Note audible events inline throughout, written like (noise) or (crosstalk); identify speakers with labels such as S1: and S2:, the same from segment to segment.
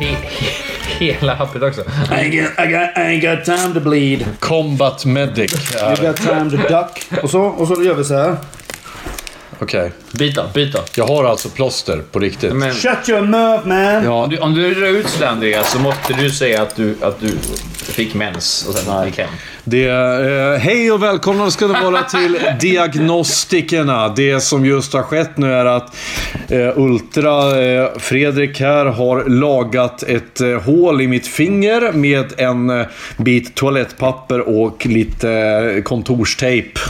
S1: He, hela happet också.
S2: I ain't got, I got, I ain't got time to bleed.
S3: Combat medic.
S2: I
S3: är-
S2: got time to duck. Och så, och så gör vi så här.
S3: Okej.
S1: Byta, byta.
S3: Jag har alltså plåster på riktigt.
S1: Men
S2: Shut your mouth man!
S3: Ja,
S1: om du, om du drar ut sådär Andreas så måste du säga att du, att du fick mens och sen gick hem.
S3: Det, eh, hej och välkomna ska det vara till Diagnostikerna. Det som just har skett nu är att eh, Ultra eh, Fredrik här har lagat ett eh, hål i mitt finger med en eh, bit toalettpapper och lite eh, kontorstejp.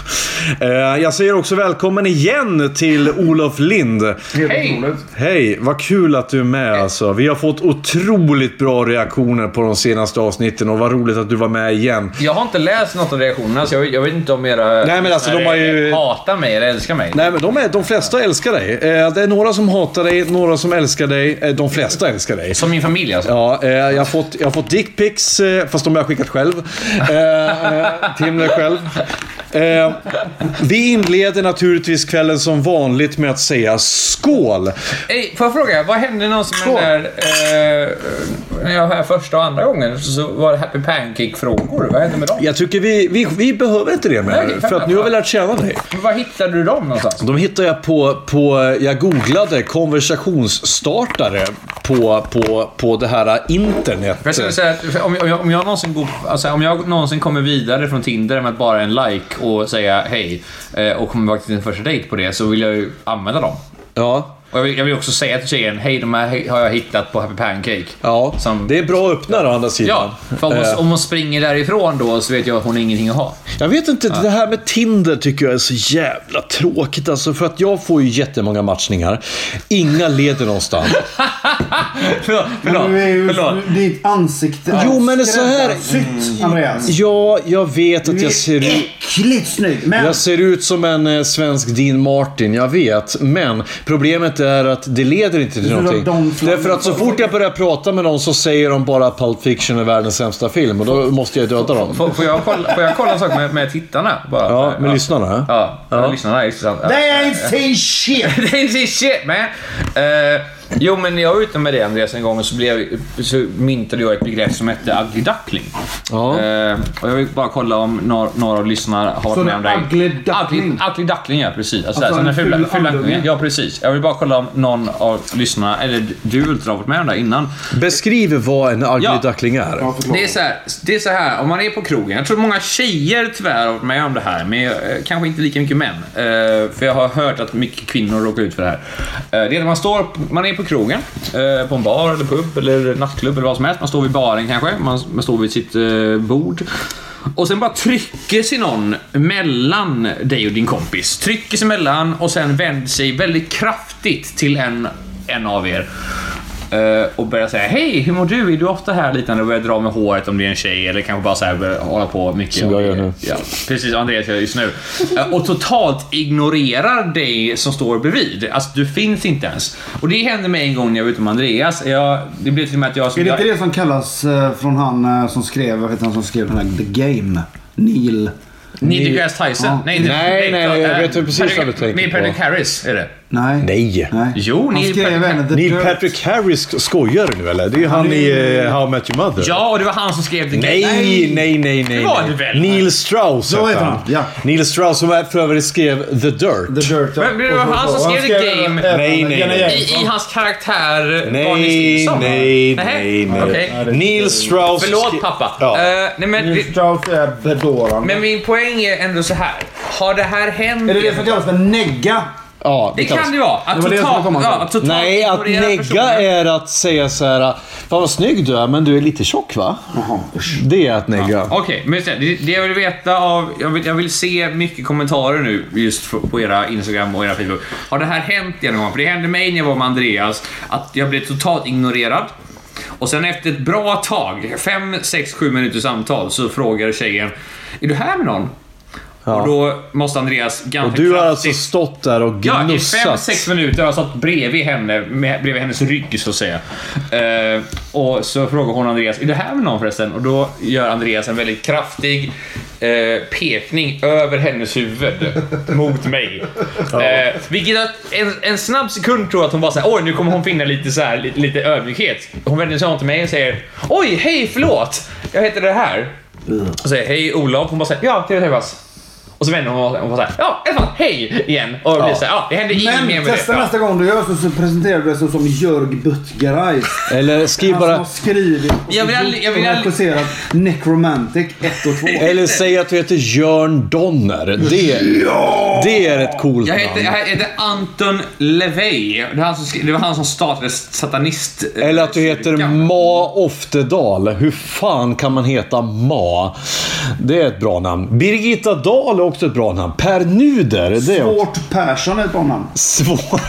S3: Eh, jag säger också välkommen igen till Olof Lind.
S1: Hej!
S3: Hej, vad kul att du är med alltså. Vi har fått otroligt bra reaktioner på de senaste avsnitten och vad roligt att du var med igen.
S1: Jag har inte läst något av reaktionerna så jag, jag vet inte om era
S3: Nej, men alltså, de har ju-
S1: hatar mig eller älskar mig.
S3: Nej, men de, är, de flesta älskar dig. Eh, det är några som hatar dig, några som älskar dig. Eh, de flesta älskar dig.
S1: Som min familj alltså.
S3: Ja, eh, jag har fått, jag har fått dickpics, eh, fast de har jag skickat själv. Eh, eh, till mig själv. Eh, vi inleder naturligtvis kvällen som vanligt med att säga skål.
S1: Ey, får jag fråga, vad hände någonsin med den där... Eh, när jag var här första och andra gången så var det Happy Pancake-frågor. Vad hände med dem?
S3: Jag tycker vi, vi, vi behöver inte det
S1: Nej,
S3: mer,
S1: okej,
S3: för att nu har vi lärt känna dig.
S1: Var hittade du dem någonstans?
S3: De hittar jag på, på jag googlade konversationsstartare på, på, på det här internet.
S1: Jag skulle säga att om jag, om jag, om jag, någonsin, går, alltså, om jag någonsin kommer vidare från Tinder med att bara en like och säga hej eh, och kommer tillbaka till din första dejt på det så vill jag ju använda dem.
S3: Ja.
S1: Och jag, vill, jag vill också säga till tjejen, hej de här har jag hittat på Happy Pancake.
S3: Ja,
S1: Som-
S3: det är bra öppnare å andra sidan.
S1: Ja, för om hon,
S3: Eh,
S1: om hon springer därifrån då så vet jag att hon har ingenting att ha.
S3: Jag vet inte, det här med Tinder tycker jag är så jävla tråkigt alltså. För att jag får ju jättemånga matchningar. Inga leder någonstans.
S1: (laughs) förlåt,
S2: Du är ju
S1: förlåt.
S2: ditt ansikte är
S3: Jo, men det är så här-
S2: skräddarsytt, Andreas.
S3: Ja, jag vet att
S2: Du
S3: jag
S2: är
S3: ser ut...
S2: äckligt snygg. Men
S3: Jag ser ut som en eh, svensk Dean Martin, jag vet. Men problemet är att det leder inte till
S2: Du
S3: någonting.
S2: Don Flam-
S3: Därför att så fort jag börjar prata med någon så säger de bara att Pulp Fiction är världens sämsta film och då måste jag döda dem.
S1: Får, får, jag kolla, får jag kolla en sak med, med tittarna? Bara,
S3: Ja, med lyssnarna.
S1: Ja, med lyssnarna. Just det. Ja.
S2: they ain't say
S1: (laughs)
S2: shit!
S1: Det är shit man. Eh, jo men jag var ute med det Andreas en gång och så, blev, så myntade jag ett begrepp som hette ugly duckling.
S3: Ja.
S1: Eh, och jag vill bara kolla om några, några av lyssnarna har varit
S2: Så
S1: med
S2: en
S1: om det. här.
S2: ugly duckling?
S1: Ugly, ugly duckling ja precis. Alltså, alltså
S2: Alltså en
S1: den fula,
S2: ful
S1: fula
S2: andunge.
S1: andungen. Ja precis. Jag vill bara kolla om någon av lyssnarna, eller du Ultra, har varit med om det här innan.
S3: Beskriv vad en ugly
S1: Ja.
S3: duckling är.
S1: Det är, så här, det är så här, om man är på krogen. Jag tror många tjejer tyvärr har varit med om det här, men eh, kanske inte lika mycket män. Eh, för jag har hört att mycket kvinnor råkar ut för det här. Eh, det är när man står, man är på krogen, eh, på en bar eller pub eller nattklubb eller vad som helst. Man står vid baren kanske, man, man står vid sitt eh, bord. Och sen bara trycker sig någon mellan dig och din kompis. Trycker sig mellan och sen vänder sig väldigt kraftigt till en, en av er. Eh, och börja säga hej, hur mår du? Är du ofta här? Liknande och börja dra med håret om det är en tjej eller kanske bara så här, börja hålla på mycket.
S3: Som jag gör nu.
S1: Ja, precis, Andreas gör just nu. Eh, och totalt ignorerar dig som står bredvid. Alltså du finns inte ens. Och det hände mig en gång när jag var ute med Andreas. Jag, det blev till och med att jag...
S2: Är det
S1: jag,
S2: inte det som kallas eh, från han eh, som skrev, vad heter han som skrev den här The Game? Neil.
S1: Neil deGrasse Tyson?
S2: Ja.
S1: Nej, inte,
S3: Nej, nej, jag vet precis vad du tänker
S1: Med Patrick
S3: på.
S1: Harris är det.
S4: Nej.
S3: Nej.
S1: Jo,
S4: Han
S1: Neil
S4: skrev
S1: Patrick-
S4: även The
S3: Neil
S4: Dirt.
S3: Patrick Harris skojar nu eller? Det är ju han i eh, How I Met Your Mother.
S1: Ja, och det var han som skrev The
S3: Nej, nej, nej, nej. nej.
S1: Det var det väl?
S3: Neil Strauss
S4: Så heter han, ja.
S3: Neil Strauss som för övrigt skrev The Dirt.
S4: The Dirt. ja.
S1: Men det var han som skrev The Game.
S4: även
S3: Nej, nej,
S4: Jenny
S3: nej.
S1: I,
S4: Jameson.
S1: I hans karaktär Barney
S3: Nej,
S1: Stinson?
S3: nej,
S1: Nähä?
S3: nej, nej.
S1: Okej.
S4: Nej, det-
S3: Neil Strauss... skri-
S1: Förlåt pappa.
S3: Ja. Mm.
S1: Eh, nej, men,
S4: Neil Strauss är bedårande.
S1: men min poäng är ändå så här. Har det här hänt?
S4: är det det som kallas för negga?
S3: ja,
S1: Det kan det ju vara. Att
S4: Det var det jag skulle
S1: totalt,
S4: komma till.
S1: ja, att totalt
S3: alltså. Nej, att
S1: ignorera
S3: negga
S1: personen.
S3: är att säga så här. Fan vad snygg du är, men du är lite tjock va?
S4: Jaha, usch.
S3: Det är att negga.
S1: Okej, men sen, det, det jag vill veta av... Jag vill, jag vill se mycket kommentarer nu just för, på era Instagram och era Facebook. Har det här hänt er någon gång? För det hände mig när jag var med Andreas att jag blev totalt ignorerad. Och sen efter ett bra tag, 5, 6, 7 minuters samtal, så frågar tjejen Är du här med någon? Och då måste Andreas ganska
S3: Och du har alltså
S1: kraftigt-
S3: stått där och
S1: Ja, i 5-6
S3: gnussat.
S1: minuter har jag stått bredvid henne, med, bredvid hennes rygg så att säga. Eh, och så frågar hon Andreas, är det här med någon förresten? Och då gör Andreas en väldigt kraftig eh, pekning över hennes huvud mot mig. Eh, vilket att en, en snabb sekund tror jag att hon bara såhär, oj nu kommer hon finna lite så här, lite, lite ödmjukhet. Hon vänder sig om till mig och säger, oj hej förlåt, jag heter det här. Och säger, hej Olof. Hon bara säger, ja trevligt att träffas. Och så vänder hon och bara såhär, ja i alla fall, hej igen. Och då blir det såhär, ja det händer inget mer
S4: Men
S1: med
S4: testa
S1: det. Ja.
S4: nästa gång du gör så, så presenterar du dig som, som Jörg
S3: (laughs)
S4: Buttgereis.
S3: Eller skriv
S4: Han som har
S1: Alltså,
S3: bara...
S4: skrivit och
S1: Jag vill aldrig- jag vill
S4: gjort och
S1: aldrig-
S4: regisserat Necromantic 1
S3: (laughs)
S4: och 2.
S3: Eller säg att du heter Jörn Donner. Det, det är ett coolt
S1: Jag heter, jag
S3: namn.
S1: heter Anton LeVey. Det var han som, skri- det var han som startade satanist...
S3: Eller att du heter Ma Oftedal. Hur fan kan man heta Ma? Det är ett bra namn. Birgitta Dahl är också ett bra namn. Per Nuder. Det är också-
S4: Svårt Persson är ett bra namn.
S3: svårt.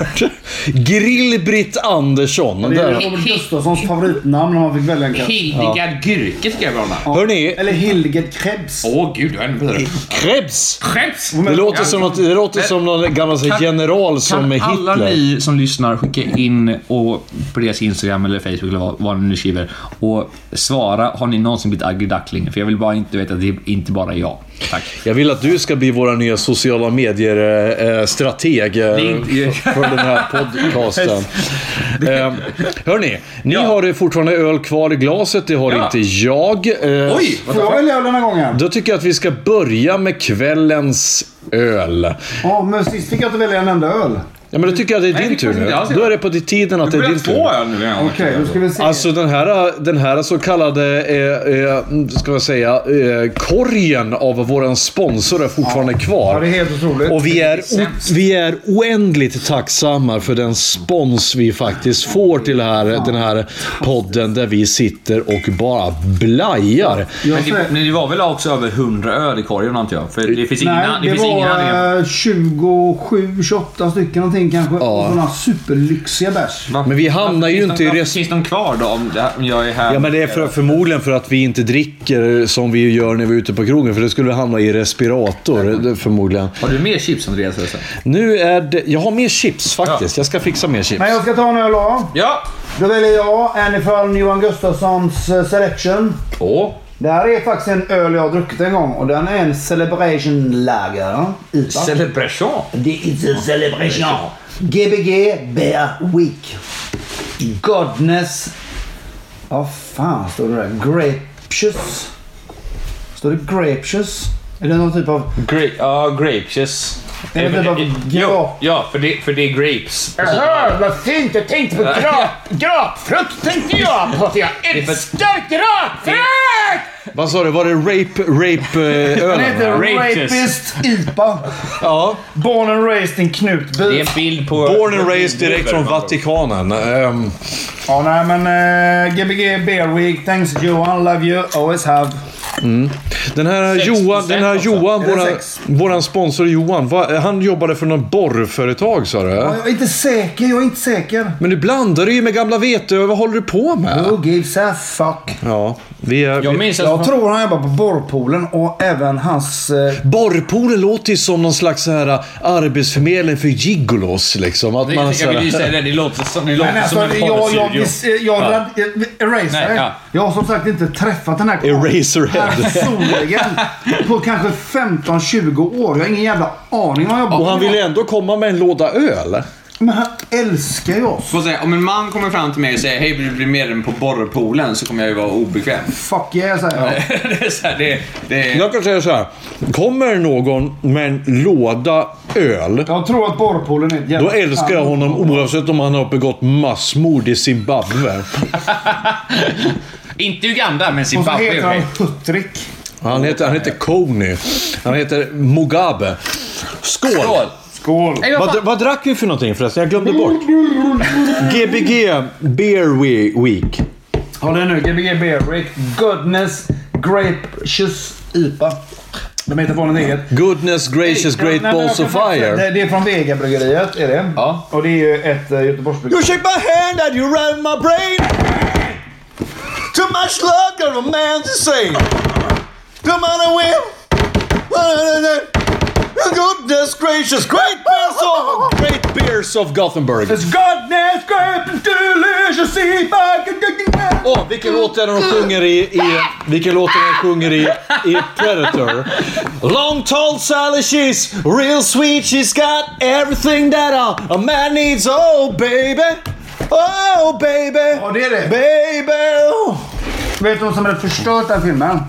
S3: Grill-Britt Andersson.
S4: Det är
S3: Där.
S4: Robert Gustafssons favoritnamn om man fick välja en kanske.
S1: Hildegard Gürke tycker jag är bra namn.
S3: Hörni,
S4: Eller Hildegard Krebs.
S1: Åh gud, jag är ännu bättre.
S3: Krebs!
S1: Skäms!
S3: Det låter som, något, det låter
S1: Men-
S3: som någon gammal så här
S1: Kan-
S3: general som är
S1: Kan alla
S3: Hitler.
S1: ni som lyssnar skicka in och på deras Instagram eller Facebook eller vad, vad ni nu skriver och svara, har ni någonsin blivit aggedackling? För jag vill bara inte veta att det är inte bara jag. Tack.
S3: Jag vill att du ska bli våra nya sociala eh, medier-strateg
S1: är inte-
S3: för den här
S1: (laughs)
S3: podcasten. Eh, Hörni, ni
S1: Ja.
S3: har ju fortfarande öl kvar i glaset. Det har
S1: Ja.
S3: inte jag. Eh,
S1: Oj!
S4: Får jag välja den här gången?
S3: Då tycker jag att vi ska börja med kvällens öl.
S4: Ja, men sist fick jag inte välja en enda öl.
S3: Ja, men då tycker jag att det är
S1: Nej,
S3: din
S1: det
S3: tur
S1: kanske
S3: nu.
S1: inte alls är.
S3: Då är det på det tiden att det är din tur.
S1: öl nu igen.
S4: Okej, då ska vi se.
S3: Alltså den här, den här så kallade, eh, eh, ska jag säga, eh, korgen av våran sponsor är fortfarande
S4: ja, det är
S3: kvar.
S4: helt otroligt.
S3: Och vi är,
S1: sämst.
S3: o- vi är oändligt tacksamma för den spons vi faktiskt får till här, den här podden där vi sitter och bara blajar.
S4: jag
S1: Men
S4: säger,
S1: det, men det var väl också över 100 öl i korgen antar jag? För det finns
S4: nej,
S1: inga...
S4: det,
S1: Det finns
S4: var
S1: inga anledningar.
S4: eh, 27, 28 stycken någonting kanske. Och sådana superlyxiga bärs.
S1: Va?
S3: Men vi hamnar ju
S1: Finns
S3: inte i
S1: de-
S3: rest-
S1: Finns de kvar då om det här- om jag är här?
S3: Ja, men det är för, förmodligen för att vi inte dricker som vi gör när vi är ute på krogen, för då skulle vi hamna i respirator eh, det- förmodligen.
S1: Har du mer chips Andreas? förresten?
S3: Nu är det... Jag har mer chips faktiskt. Jag ska fixa mer chips.
S4: Men jag ska ta en öl då.
S1: Ja!
S4: Då väljer jag en ifrån Johan Gustafssons eh, Selection.
S1: Åh!
S4: Det här är faktiskt en öl jag har druckit en gång och den är en Celebration Lager. ja. IPA.
S1: Celebration!
S4: Det är en Celebration. Gbg Bear Week. Godness. Vad fan står det där? Grapeous. Står det Grapeous? Är det någon typ av...
S1: Gra- ja, grapes. Yes.
S4: Är det
S1: Eh, men-
S4: typ av
S1: eh,
S4: grap?
S1: jo, ja, för det, för det är grapes. Alltså-
S4: vad fint! Jag tänkte (laughs) på grapefrukt tänkte jag på. Jag
S1: älskar
S4: grapefrukt!
S3: Vad sa du? Var det rape, rape (laughs) eh,
S4: Den
S3: ölen?
S4: heter
S3: va?
S1: Rapist.
S4: Rapist IPA.
S3: Ja.
S4: Born and raised in
S1: Det är
S4: Knutby.
S1: en bild på...
S3: Born and raised direkt från Vatikanen. Ehm,
S4: Ja, nej men eh, Gbg Beer Week. Thanks Johan. Love you. Always have.
S3: Den här
S1: Sex
S3: Johan,
S1: procent alltså.
S3: den här
S1: också.
S3: Johan
S4: Är det
S3: våran,
S4: sex?
S3: våran sponsor Johan, va, han jobbade för något borrföretag sa du?
S4: Ja, Jag är inte säker. Jag är inte säker.
S3: Men du blandar ju med gamla vete, vad håller du på med?
S4: Who gives a fuck?
S3: Ja, vi är...
S1: Jag
S3: vi-
S1: minns
S4: Jag
S1: att...
S4: tror han jobbar på borrpoolen och även hans... Eh,
S3: Borrpoolen låter ju som någon slags så här äh, arbetsförmedling för gigolos liksom. Att man så
S1: Jag vill ju
S3: här,
S1: säga det, det låter som, det
S4: men
S1: låter
S4: alltså,
S1: som en
S4: jag, jag, jag,
S1: porrstudio.
S4: eh, jag,
S1: Ja.
S4: rad- eh, Eraser.
S1: Nej, ja.
S4: Jag har som sagt inte träffat den här
S3: (laughs) Eraserhead.
S1: (laughs)
S4: personligen på kanske 15-20 år. Jag har ingen jävla aning om han jobbar
S3: och han
S4: med.
S3: ville ändå komma med en låda öl.
S4: Men han älskar ju oss.
S1: Får säga, om en man kommer fram till mig och säger hej vill du bli medlem på borrpoolen så kommer jag ju vara (laughs) obekväm.
S4: Fuck yeah, säger jag.
S1: det är så här, det, det
S3: Jag kan säga så här. Kommer någon med en låda öl,
S4: Jag tror att borrpoolen är ett
S3: då
S4: jävla-
S3: älskar jag honom oavsett om han har begått massmord i Zimbabwe.
S1: Inte Uganda, men
S4: Och så
S1: Zimbabwe.
S4: heter han
S1: okej.
S4: Huttrik.
S3: Han heter, han heter Kony. Han heter Mugabe. Skål!
S1: Skål!
S4: Skål.
S1: Nej, vad
S3: Vad,
S1: fan?
S3: vad drack vi för någonting förresten? Jag glömde bort. Gbg Beer We- Week.
S4: Håll i nu. Gbg Berwick. Goodness Grape Shoes IPA. De heter på något eget.
S3: Goodness gracious
S4: Nej,
S3: great
S4: men jag
S3: balls
S4: kan
S3: of
S4: faktiskt- Det,
S3: fire.
S4: det är från Vegabryggeriet, är det.
S1: Ja.
S4: Och det är ju ett uh, Göteborgsbryggeri.
S3: You shake my hand and you run my brain. Too much love got a man to say. Come on and win. Goodness gracious great balls of great beers of Gothenburg.
S4: It's goodness grape is delicious IPA.
S3: Åh, vilken låt är det de sjunger i, i... Vilken låt är det de sjunger i, i Predator? Long tall Sally she's real sweet She's got everything that a, a man needs Oh baby Oh baby
S4: Ja, det är det.
S3: Baby
S4: Vet du vad som hade förstört den här filmen?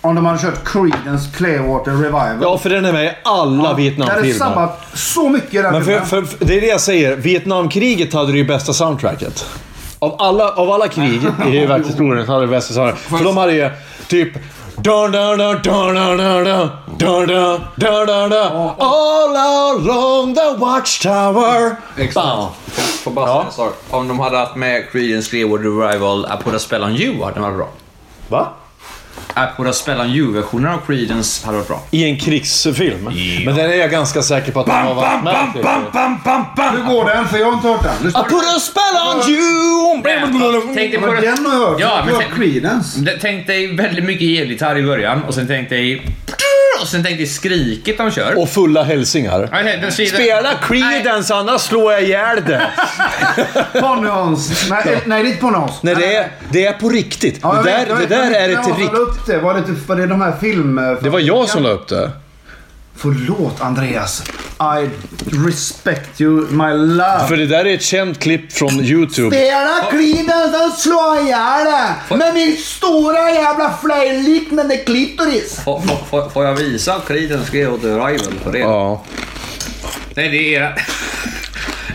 S4: Om de hade kört Creedence Clearwater Revival.
S3: Ja, för den är med i alla
S4: Det hade
S3: Vietnamfilmer.
S4: sabbat så mycket i den
S3: Men för,
S4: filmen.
S3: för, för, det är det jag säger. Vietnamkriget hade det ju bästa soundtracket. Av alla, av alla krig i världshistorien så hade det bästa soundtracket. För de hade ju typ... Dun, dun, dun, dun, dun, dun, dun, dun, dun, dun, dun, dun. All along the watchtower.
S1: Exakt.
S3: Bam.
S1: Får bara säga en sak. Om de hade haft med Creedence Clearwater Revival, I put a spell on you hade varit bra.
S3: Va?
S1: I put a spell on you-versionen av Creedence hade varit bra.
S3: I en krigsfilm. Men den är jag ganska säker på att den har varit med i.
S1: bam, bam, bam!
S4: Hur går den? För jag har inte hört den.
S3: I put a spell on you!
S1: Tänk dig
S4: Men
S1: på
S4: den har jag hört.
S1: Ja,
S4: jag
S1: men
S4: har
S1: tänk-
S4: hört Creedence.
S1: Det- Tänk dig väldigt mycket elgitarr i början och sen tänk dig... Och sen tänk dig skriket de kör.
S3: Och fulla hälsingar.
S1: Okej, den skriver-
S3: Spela Creedence annars slår jag ihjäl dig.
S4: Bonnie Hans. Nej, nej, det är inte Bonnie Hans.
S3: Nej, det är, det är på riktigt.
S4: Ja,
S3: det
S4: jag
S3: där,
S4: vet, jag
S3: det
S4: vet,
S3: där
S4: jag
S3: är
S4: vet,
S3: ett
S4: jag
S3: rikt...
S4: la upp det. Var det, typ, var det de här film...
S3: Det var jag som la upp det.
S4: Förlåt Andreas. I respect you, my love.
S3: För det där är ett känt klipp från YouTube.
S4: Spela Creedence, den slår ihjäl dig. Med min stora jävla flöjliknande klitoris.
S1: Får, får- får, får jag visa Creedence Clearwater Revival på det?
S3: Ja.
S1: Nej, det är (laughs) era.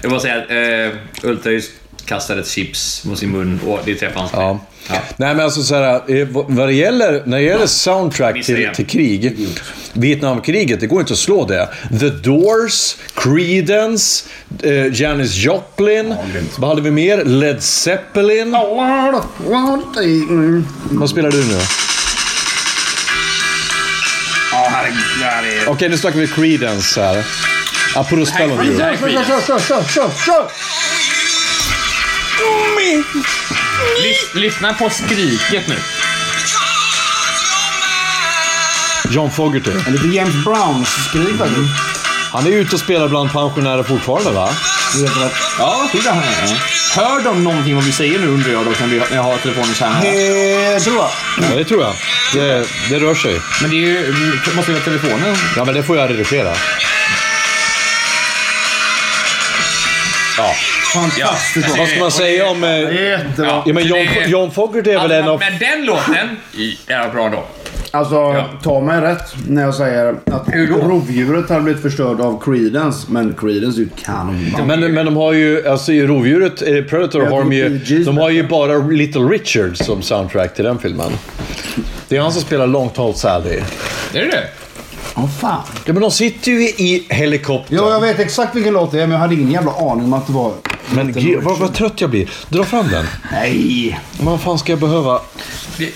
S1: Jag måste säga att eh, Ultrahus kastade ett chips mot sin mun och det träffade hans
S3: Ja. Nej men alltså så här, eh, vad- vad det gäller, när det gäller soundtrack
S1: Missar
S3: till,
S1: igen.
S3: till krig. Vietnamkriget, det går inte att slå det. The Doors, Creedence, eh, Janis Joplin. Vad hade vi mer? Led Zeppelin. Vad spelar du nu?
S1: Ja, herregud. det här är-
S3: Okej, nu snackar vi Creedence här. Apropå Spell on you.
S1: Det här är Creedence. Lys- Lyssna på skriket nu.
S3: John Fogerty.
S4: En lite James Brown-skrik faktiskt.
S3: Han är ute och spelar bland pensionärer fortfarande va?
S4: Du vet rätt.
S1: Ja, titta här. Hör de någonting vad vi säger nu undrar jag då när vi- när jag har telefonen så här.
S4: Eh, tror jag.
S3: Ja, det tror jag. Det, det rör sig.
S1: Men det är ju... mm, Måste vi ha telefonen?
S3: Ja, men det får jag redigera. Ja.
S4: Fantastiskt bra.
S3: Vad ska man säga om... Eh,
S4: Jättebra.
S3: ja, men John, John Fogerty är väl en av...
S1: Men den låten är bra då.
S4: Alltså, ta mig rätt när jag säger att rovdjuret hade blivit förstörd av Creedence. Men Creedence är ju ett kanonband.
S3: Men, men de har ju, alltså i Rovdjuret, eh, Predator, har de ju, de har ju bara Little Richard som soundtrack till den filmen. Det är han som spelar Long Tall Sally.
S1: Är det det?
S4: Åh fan.
S3: Ja, men de sitter ju i helikoptern.
S4: Ja, jag vet exakt vilken låt det är, men jag hade ingen jävla aning om att det var...
S3: Men gud, vad, vad trött jag blir. Dra fram den.
S4: Nej!
S3: Men vad fan ska jag behöva?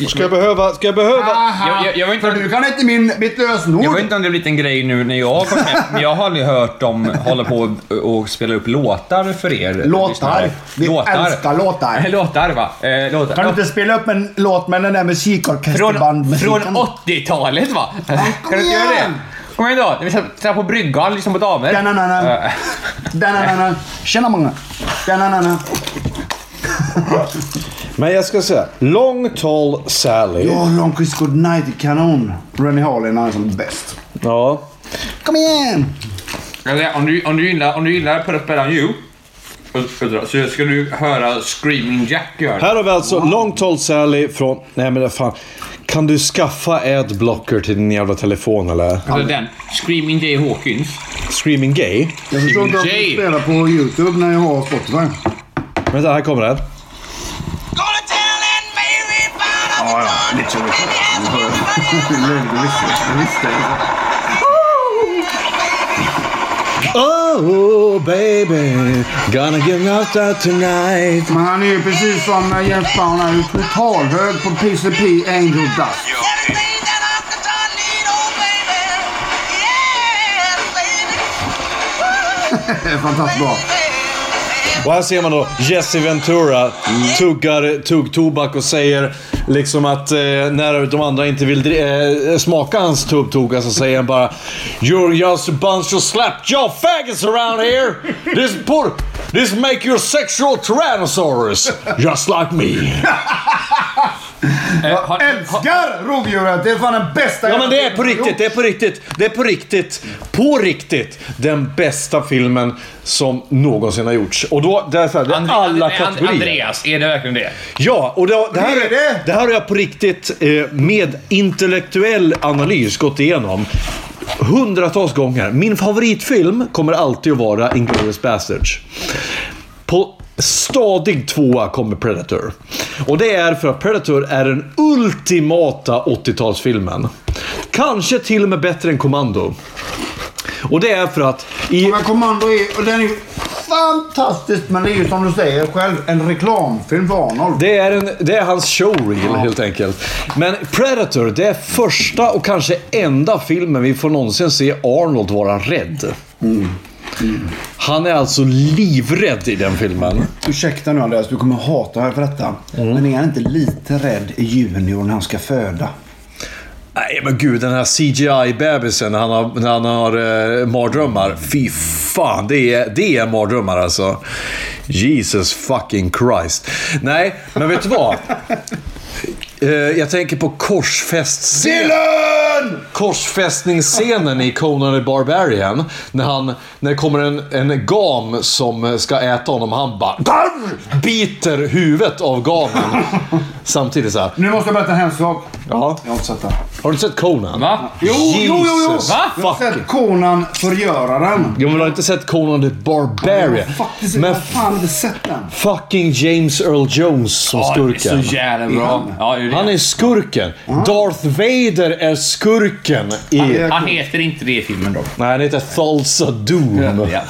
S3: Ska jag behöva? Ska jag behöva?
S1: Jag, jag, jag vet inte
S4: För du kan inte min, mitt lösenord.
S1: Jag vet inte om det har blivit en grej nu när jag har kommit hem, men jag har aldrig hört dem hålla på och, och spela upp låtar för er.
S4: Låtar.
S1: lyssnare.
S4: Vi älskar låtar.
S1: Eh, (laughs) Låtar va? Eh, låtar.
S4: Kan du inte spela upp en låt med den där
S1: Från,
S4: musikorkesterbandmusiken?
S1: från 80-talet va? Kan du inte göra det?
S4: igen!
S1: Kom igen då. Vi satt satt på bryggan liksom på damer.
S4: Da-na-na-na.
S1: Eh,
S4: Da-na-na-na. Tjena många. Da-na-na-na.
S3: Men jag ska säga, Long Tall Sally.
S4: Ja, Long Kiss Goodnight är kanon. Rennie Harlin är som bäst.
S3: Ja.
S4: Kom igen!
S1: jag säger, om, du, om, du gillar, om du gillar Put Up Bell On You Uddra. Så ska du höra Screaming Jack göra det.
S3: Här har vi alltså Long Tall Sally från... Nej men fan. Kan du skaffa adblocker till din jävla telefon eller?
S1: Eller den. Screaming Jay Hawkins.
S3: Screaming Gay?
S4: Jag förstår inte att
S1: Jay.
S4: du spelar på YouTube när jag har Spotify.
S3: Vänta, här kommer den.
S5: Gonna tell Aunt Mary about all
S4: Ja,
S5: the
S4: ja.
S5: good
S4: Lite
S5: that has happened to
S4: Du visste, du visste.
S3: Oh baby, gonna give up that tonight.
S4: Men han är ju precis som Jeff Brown. Han är ju totalhög på PCP Angel Dust.
S5: us. Everything that I've done, need, oh baby. Yeah, baby.
S4: Det är fantastiskt (laughs) bra.
S3: Och här ser man då Jesse Ventura tuggar tuggtobak och säger liksom att eh, när de andra inte vill dri- eh, smaka hans tuggtobak så säger han bara You're just a bunch of slapjaw faggots around here. This poor... This make your sexual tyrannosaurus just like me.
S1: Eh, har-
S4: Älskar rovdjuret! Det är fan den bästa
S3: Ja men det är på riktigt, det är på riktigt, det är på riktigt, på riktigt den bästa filmen som någonsin har gjorts. Och då, det är, så här, det är
S1: Andre-
S3: alla
S1: Andre-
S3: kategorier.
S1: Andreas, är det verkligen det?
S3: Ja, och det, det, här,
S4: Det är det.
S3: det här har jag på riktigt eh, med intellektuell analys gått igenom hundratals gånger. Min favoritfilm kommer alltid att vara Inglourious Basterds. På stadig tvåa kommer Predator. Och det är för att Predator är den ultimata 80-talsfilmen. Kanske till och med bättre än Commando. Och det är för att... I,
S4: Men Kommando är, och den är ju fantastisk men det är ju som du säger själv en reklamfilm för Arnold.
S3: Det är, en, det är hans showreel helt enkelt. Men Predator, det är första och kanske enda filmen vi får någonsin se Arnold vara rädd. Han är alltså livrädd i den filmen.
S4: Ursäkta nu Andreas, du kommer hata mig för detta.
S3: Mm.
S2: Men är han inte lite rädd i junior när han ska föda?
S3: Nej men gud, den här CGI-bebisen när han har, när han har eh, mardrömmar. Fy fan, det är, det är mardrömmar alltså. Jesus fucking Christ. Nej, men vet du vad? (laughs) Eh, Jag tänker på korsfästscenen! Korsfästningsscenen i Conan the Barbarian. När, han, när det kommer en, en gam som ska äta honom och han bara "Darr!" biter huvudet av gamen. Samtidigt så här.
S4: Nu måste jag berätta en hemsk sak.
S3: Ja.
S4: Jag har inte sett den.
S3: Har du sett Conan?
S1: Va?
S4: Jo, jo, jo, jo!
S3: Jesus
S4: Jag har
S3: fucking-
S4: sett Konan Förgöraren.
S3: Jo, men du har inte sett Conan the Barbarian.
S4: Jag har faktiskt
S3: men
S4: jag har fan inte sett den.
S3: fucking James Earl Jones som
S1: Ja, det är
S3: skurken.
S1: så jävla bra. Ja, det är det.
S3: Han är skurken. Darth Vader är skurken i...
S1: Han heter inte det i filmen dock.
S3: Nej, han heter Thulsa Doom.
S1: Ja.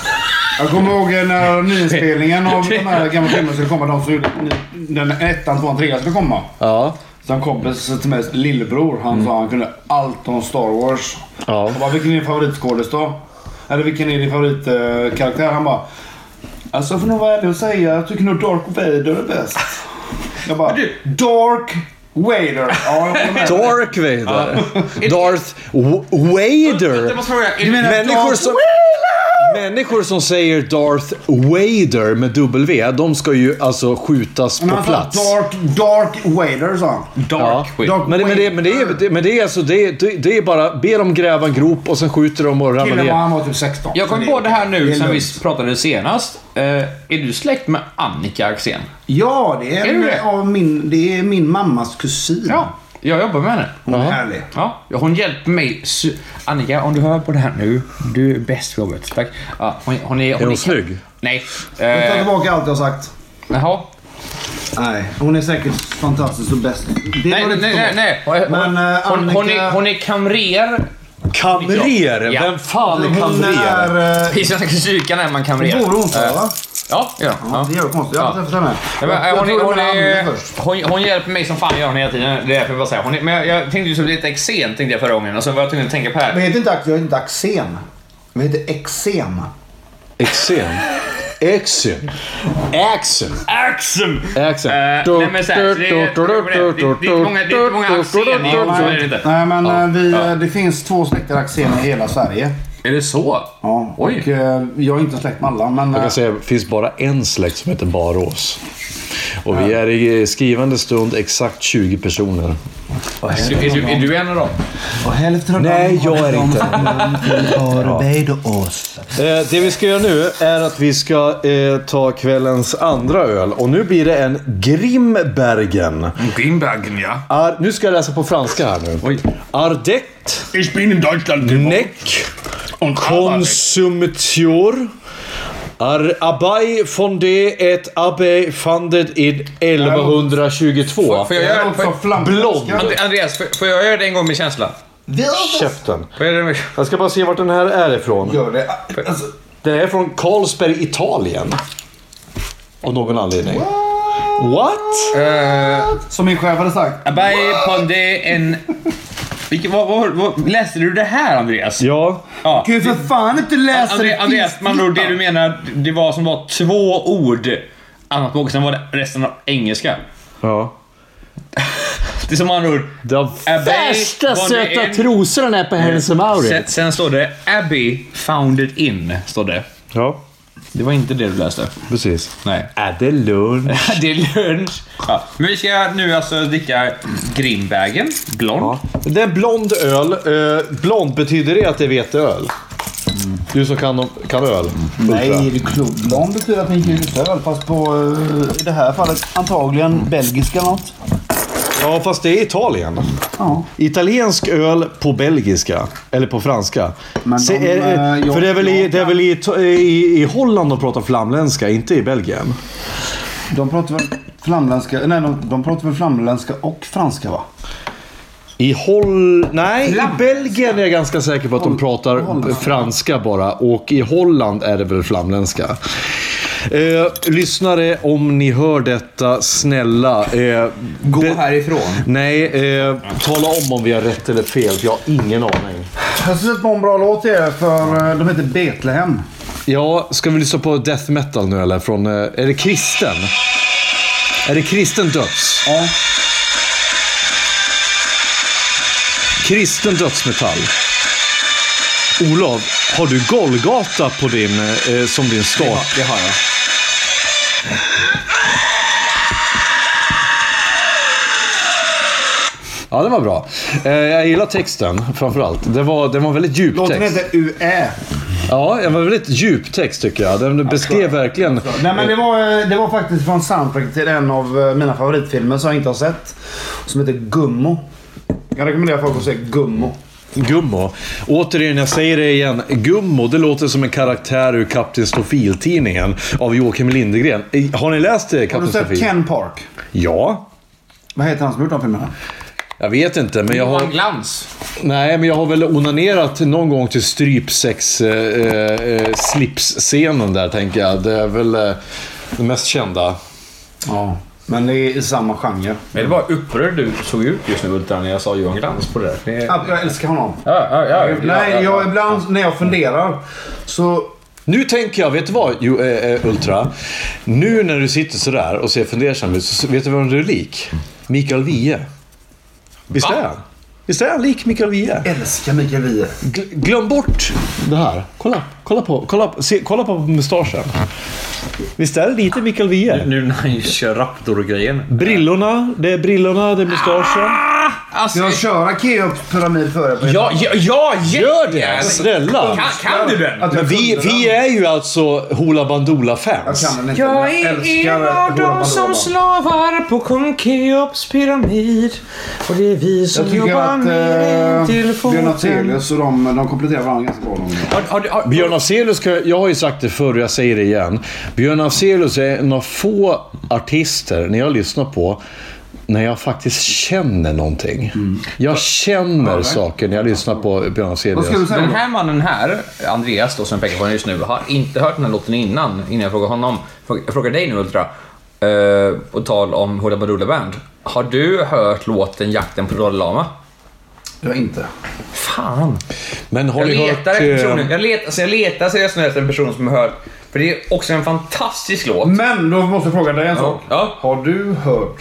S4: Jag kommer ihåg när nyinspelningen av de här gamla filmerna skulle komma. De som gjorde den ettan, tvåan, trean skulle komma.
S3: Ja.
S4: Så en kompis till mig, lillebror, han sa han kunde allt om Star Wars.
S3: Ja.
S4: Jag bara, vilken är din favoritskådis då? Eller vilken är din favoritkaraktär? Han bara, alltså jag får nog vara ärlig och säga, jag tycker nog Dark Vader är bäst. Jag bara, Dark Vader. Ja, jag håller med.
S3: Dark Vader. (laughs) Darth W- Vader.
S1: Jag måste fråga, är det-
S3: Människor som, människor som säger Darth Vader med W, de ska ju alltså skjutas
S4: Men
S3: på
S4: han sa
S3: plats.
S4: Dark, Dark Vader sa han.
S1: Dark skit.
S4: Dark
S3: Men det, men, det,
S4: Vader.
S3: men, det är, det, men det är alltså, det, är- det, det är bara, be dem gräva en grop och sen skjuter de och ramlar
S4: Killen var,
S3: ner.
S4: han var typ 16.
S1: Jag kom
S4: Så
S1: på det här nu
S4: är
S1: sen vi
S4: lugnt.
S1: pratade senast. Eh, är du släkt med Annika Axén?
S2: Ja, det är,
S1: Är det det?
S2: en, av min, det är min mammas kusin.
S1: Jag jobbar med henne.
S2: Hon är härlig.
S1: Ja, ja, hon hjälpte mig. s- Annika, om du hör på det här nu. Du är bäst på jobbet. Tack. Ja, hon, hon är, hon
S3: hon snygg?
S1: Nej.
S2: Jag tar
S1: Eh,
S2: tillbaka allt jag sagt.
S1: jaha.
S2: Nej, hon är säkert fantastisk och bäst. Det
S1: Nej,
S2: var
S1: nej,
S2: inte så.
S1: nej. nej. Hon,
S2: Men, eh,
S1: hon, hon,
S2: Annika-
S1: är, hon är kamrer.
S3: Kamrer?
S1: Ja.
S3: Vem fan är
S2: Hon
S3: kamrer?
S2: är... eh,
S1: I Svenska kyrkan är man kamrer.
S2: Bor hon så
S1: Eh,
S2: va?
S1: Ja, det gör hon.
S2: Ja, det gör konstigt. Jag har inte
S1: Ja.
S2: träffat henne.
S1: Ja, men, eh,
S2: Jag
S1: hon,
S2: tror
S1: är,
S2: det
S1: hon,
S2: var
S1: är,
S2: Anne först.
S1: hon, hon hjälper mig som fan gör hon hela tiden. Det är därför jag bara säger. Hon är, men jag, jag tänkte ju som lite eksem tänkte jag förra gången och sen var jag tvungen att tänka på det
S2: Men
S1: här.
S2: heter inte Axel, jag heter inte Axén. Men jag heter Exem.
S3: Eksem? Eksem? Axem?
S1: Axem!
S3: Axem.
S1: Eh, nej men så här, så det, är- det, är- det är inte många, det är inte många axem i så är det inte.
S4: Nej men eh, vi, eh, det finns två släkter Axén i hela Sverige. eh,
S1: Är det så?
S4: Ja,
S1: Oj.
S4: och eh, jag är inte släkt med alla men...
S3: Jag
S4: eh,
S3: kan säga, det finns bara en släkt som heter Barås. Och vi är i skrivande stund exakt 20 personer.
S2: Och
S1: Är du, Alltså, är, du, är du en av dem?
S4: eh,
S2: Och hälften av
S3: Nej,
S2: dem
S3: jag är inte.
S2: Barbados.
S3: Eh, det vi ska göra nu är att vi ska eh, ta kvällens andra öl. Och nu blir det en Grimbergen.
S1: Grimbergen, ja.
S3: Ar, nu ska jag läsa på franska här nu.
S1: Oj.
S3: Ardett,
S4: Ich bin in Deutschland
S3: neck,
S4: und
S3: Konsumtior. Ar Abbey fondé et abbey funded in 1122.
S1: Får jag
S4: Jag
S1: göra
S4: är alltså
S1: det?
S4: också
S1: Får-
S4: flamblond.
S1: And- Andreas, får- får jag göra det en gång med känsla?
S3: Käften.
S1: Får jag göra det med...
S3: Jag ska bara se vart den här är ifrån.
S4: Gör det. Alltså,
S3: Den är från Carlsberg, Italien. Av någon anledning. What?
S1: Uh,
S4: som min chef hade sagt.
S1: Abai Pondé en... Vilken, vad, vad, vad, läste du det här Andreas?
S3: Ja.
S1: Ja.
S4: Kan ju för fan inte läsa
S1: Andre,
S4: det
S1: Andreas, man tror det du menar, det var som var två ord annat språk, sen var det resten av engelska.
S3: Ja.
S1: (laughs) Det är som andra ord.
S6: De
S1: Abbey
S6: värsta
S1: var
S6: söta
S1: det en-
S6: trosorna är på Hennes Mauritz.
S1: Sen, sen står det Abbey founded in, står det.
S3: Ja,
S1: Det var inte det du läste.
S3: precis.
S1: Nej.
S3: Är det lunch?
S1: Det är lunch. Ja. Men vi ska nu alltså dricka Grimbergen, blond.
S3: Ja. Det är blond öl. Eh, blond, betyder det att det är veteöl? Du som kan, kan öl.
S2: Nej,
S3: Ultra.
S2: det är klokt.
S4: De betyder att ni inte är öl, fast på, eh, i det här fallet antagligen belgiska eller något.
S3: Ja, fast det är Italien.
S4: Ja.
S3: Italiensk öl på belgiska. Eller på franska.
S2: Men
S3: Se,
S2: de,
S3: är, är-
S2: eh,
S3: för det är väl, i, det är väl i, i, i Holland de pratar flamländska, inte i Belgien?
S4: De pratar väl flamländska, nej de, de pratar väl flamländska och franska va?
S3: I Holl... Nej, i Belgien är jag ganska säker på att de pratar
S4: Holland.
S3: franska bara. Och i Holland är det väl flamländska. Eh, lyssnare, om ni hör detta, snälla. Eh, Gå
S1: härifrån.
S3: Nej, eh, tala om om vi har rätt eller fel. för Jag har ingen aning.
S4: Jag ska sätta på en bra låt till er för eh, de heter Betlehem.
S3: Ja, ska vi lyssna på death metal nu eller? Från, eh, är det kristen? Är det kristen döds?
S4: Ja.
S3: Kristen dödsmetall. Olof, har du Golgata på din, eh, som din start?
S1: Det har jag.
S3: Ja, det var bra. Eh, jag gillar texten framförallt. Det var, det var en väldigt djup
S4: Låten
S3: text.
S4: heter UE.
S3: Ja, det var en väldigt djup text tycker jag. Den beskrev verkligen...
S4: Nej men det var, eh, det var faktiskt från soundtrack till en av eh, mina favoritfilmer som jag inte har sett. Som heter Gummo. Jag rekommenderar folk att se Gummo.
S3: Gummo. Återigen, jag säger det igen. Gummo, det låter som en karaktär ur Kapten Stofil-tidningen av Joakim Lindegren. Eh, Har ni läst det,
S4: Har du
S3: Kapten
S4: sett
S3: Stofil?
S4: Ken Park?
S3: Ja.
S4: Vad heter han som gjort de filmerna?
S3: Jag vet inte, men jag har...
S1: Johan Glans.
S3: Nej, men jag har väl onanerat någon gång till eh, strypsex-slipsscenen där, tänker jag. Det är väl eh, det mest kända.
S4: Ja. Men det är i samma genre.
S1: Men det var upprörd du såg ut just nu Ultra när jag sa Johan Glans på det där. Det...
S4: Att Jag älskar honom.
S1: Ja, ja, ja, ja, ja,
S4: Nej,
S1: ja.
S4: jag ibland när jag funderar så...
S3: Nu tänker jag, vet du vad jo, eh, eh, Ultra? Nu när du sitter sådär och ser fundersam ut, så vet du vem du är lik? Mikael Wiehe. Visst är han? Visst är han lik Mikael Wiehe?
S4: Älskar Mikael Wiehe.
S3: Gl- glöm bort det här. Kolla, kolla på, kolla, på- se, kolla på mustaschen. Visst är det lite Mikael Wiehe?
S1: Nu när han kör Raptor-grejen.
S3: Brillorna, det är brillorna, det är mustaschen.
S6: Ah!
S1: Alltså,
S4: Ska jag köra Keops pyramid för er? på-
S1: ja, ja, ja,
S3: Gör det!
S1: jättegärna.
S3: Snälla!
S1: Kan, kan du den?
S4: Att jag
S3: Men vi,
S4: kunde den.
S3: vi är ju alltså Hoola
S4: Jag
S3: Bandoola-fans.
S4: kan den inte. men Jag älskar Hora Madonna.
S1: slavar på kung Keops pyramid. Och det är vi
S4: Jag tycker att eh, Björn Afzelius och de, de kompletterar varandra ganska bra. de.
S1: Har, har, har,
S3: Björn Afzelius, kan- jag har ju sagt det förr och jag säger det igen. Björn Afzelius är en av få artister, när jag lyssnar på, när jag faktiskt känner någonting.
S1: Mm.
S3: Jag känner saker när jag lyssnar på Björn
S4: Vad
S3: Afzelius.
S4: ska du säga
S1: Den
S4: då?
S1: här mannen här, Andreas då som jag pekar på honom just nu, har inte hört den här låten innan, innan jag frågar honom. Frå- Jag frågar dig nu Ultra, eh, på tal om Hoola Bandoola Band. Har du hört låten Jakten på Dalai Lama?
S4: Det var inte.
S1: Fan!
S3: Men har
S1: Jag
S3: ni
S1: letar efter
S3: hört...
S1: personen.
S3: eh,
S1: Jag letar, alltså jag letar seriöst nu efter en person som har hört. För det är också en fantastisk låt.
S4: Men då måste jag fråga dig en sak.
S1: Ja.
S4: Har du hört...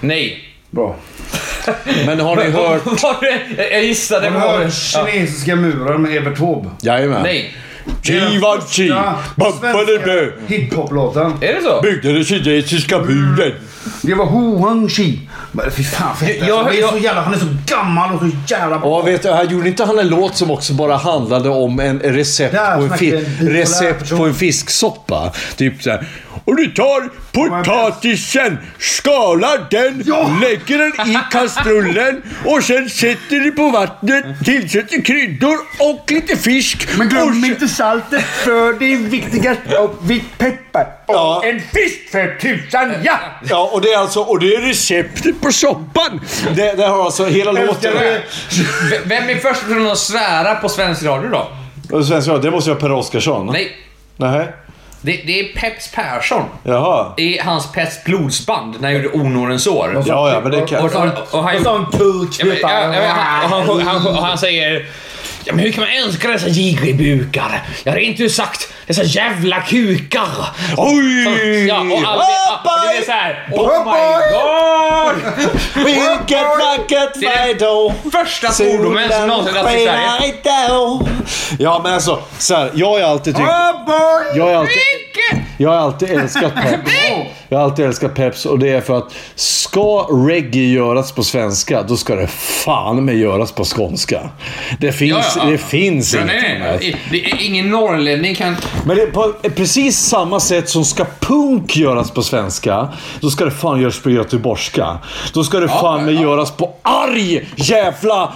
S1: Nej.
S4: Bra.
S3: Men har ni hört...
S1: (laughs) Var det- jag- Jag gissade.
S4: Har du
S1: men var det-
S4: hört Kinesiska muren med Evert Taube?
S3: Jajamän.
S1: Nej.
S4: Det är den
S3: Jivan
S4: första
S3: chi,
S4: svenska
S3: babbadabö,
S4: Hiphop-låten.
S1: Är det så?
S3: byggde den kinesiska muren.
S4: Det var Ho Wang Chi. Men Fy fan för
S1: Jag-
S4: jag,
S1: jag-
S4: han, är så jävla, han är så gammal och så jävla bra.
S3: Ja, vet du, här gjorde inte han en låt som också bara handlade om en recept,
S2: Där
S3: på, en
S2: snackar vi en
S3: fi-
S2: bipolär
S3: recept
S2: person.
S3: på en fisksoppa? Typ såhär. Och du tar potatisen, skalar den, lägger den i kastrullen och sen sätter du på vattnet, tillsätter kryddor och lite fisk.
S4: Men
S3: och
S4: glöm
S3: så-
S4: inte saltet för det är viktigast. Och vitt peppar. Och
S3: Ja.
S4: en fisk för tusan, ja!
S3: Ja, och det är alltså och det är receptet på soppan. Det, det har alltså hela låten.
S1: V- Vem är först personen att svära på svensk radio då?
S3: Och Svensk radio, det måste vara Per Oscarsson?
S1: Nej,
S3: Nej.
S1: det, det är Peps Persson.
S3: Jaha.
S1: I hans Peps blodsband när han gjorde Onårens år.
S3: Ja, ja, men det kan...
S1: Och, och, och, han,
S2: En sån kuk.
S1: Ja, men, ja, ja, men han, han, han, han, och han säger Ja, men hur kan man önska dessa jigribukar? Jag har inte sagt dessa jävla kukar.
S3: Oj!
S1: Ja, och all,
S3: Oh,
S1: och det är
S3: boy!
S1: så här. Oh my god!
S3: (laughs)
S1: Oh
S3: Vilket vackert
S1: Det är den
S3: väder!
S1: första svordomen som någonsin har i Sverige.
S3: Ja, men alltså. Så här, jag har ju alltid tyckt...
S1: Oh
S3: Jag har ju alltid, jag har
S1: (laughs)
S3: alltid älskat Peps. Jag har alltid älskat Peps och det är för att ska reggae göras på svenska, då ska det fan med göras på skånska. Det finns,
S1: Ja, ja.
S3: Det finns
S1: Ja,
S3: inget
S1: nej,
S3: annat.
S1: nej, nej. Ingen norrlänning kan...
S3: Men det, på precis samma sätt som ska punk göras på svenska, då ska det fan göras på göteborgska. Då ska det fan med göras på arg jävla...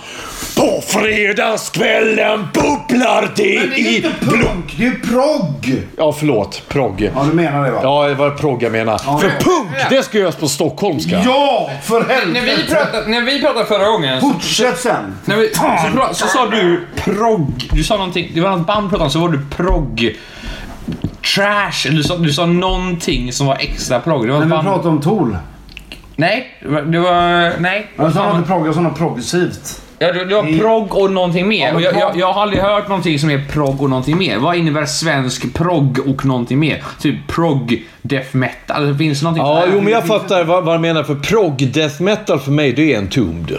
S3: På fredagskvällen bubblar det,
S4: Men det är ju
S3: i
S4: inte
S3: blod...
S4: punk, det är progg!
S3: Ja, förlåt. Progg.
S4: Ja, du menar det va?
S3: Ja, det var progg jag menar. För punk, det ska göras på stockholmska.
S4: Ja, för
S1: När vi
S4: helvete!
S1: pratade, när vi pratade förra gången så,
S4: Fortsätt sen!
S1: när vi, så, pra- så sa du progg. Du sa någonting, det var något band vi pratade om, så var du progg. Trash, eller du sa, du sa någonting som var extra progg. Det var ett
S4: När vi
S1: band...
S4: pratar om Tool.
S1: Nej, det var- det var... Nej.
S4: Jag sa inte progg, jag sa något progressivt.
S1: Ja, det, det var progg och någonting mer.
S4: men
S1: Och jag,
S4: progg-
S1: jag, jag har aldrig hört någonting som är progg och någonting mer. Vad innebär svensk progg och någonting mer? Typ progg, death metal. Det finns någonting
S3: Ja,
S1: Nej,
S3: jo, men jag fattar vad, vad du menar. För prog death metal för mig, det är en tomd.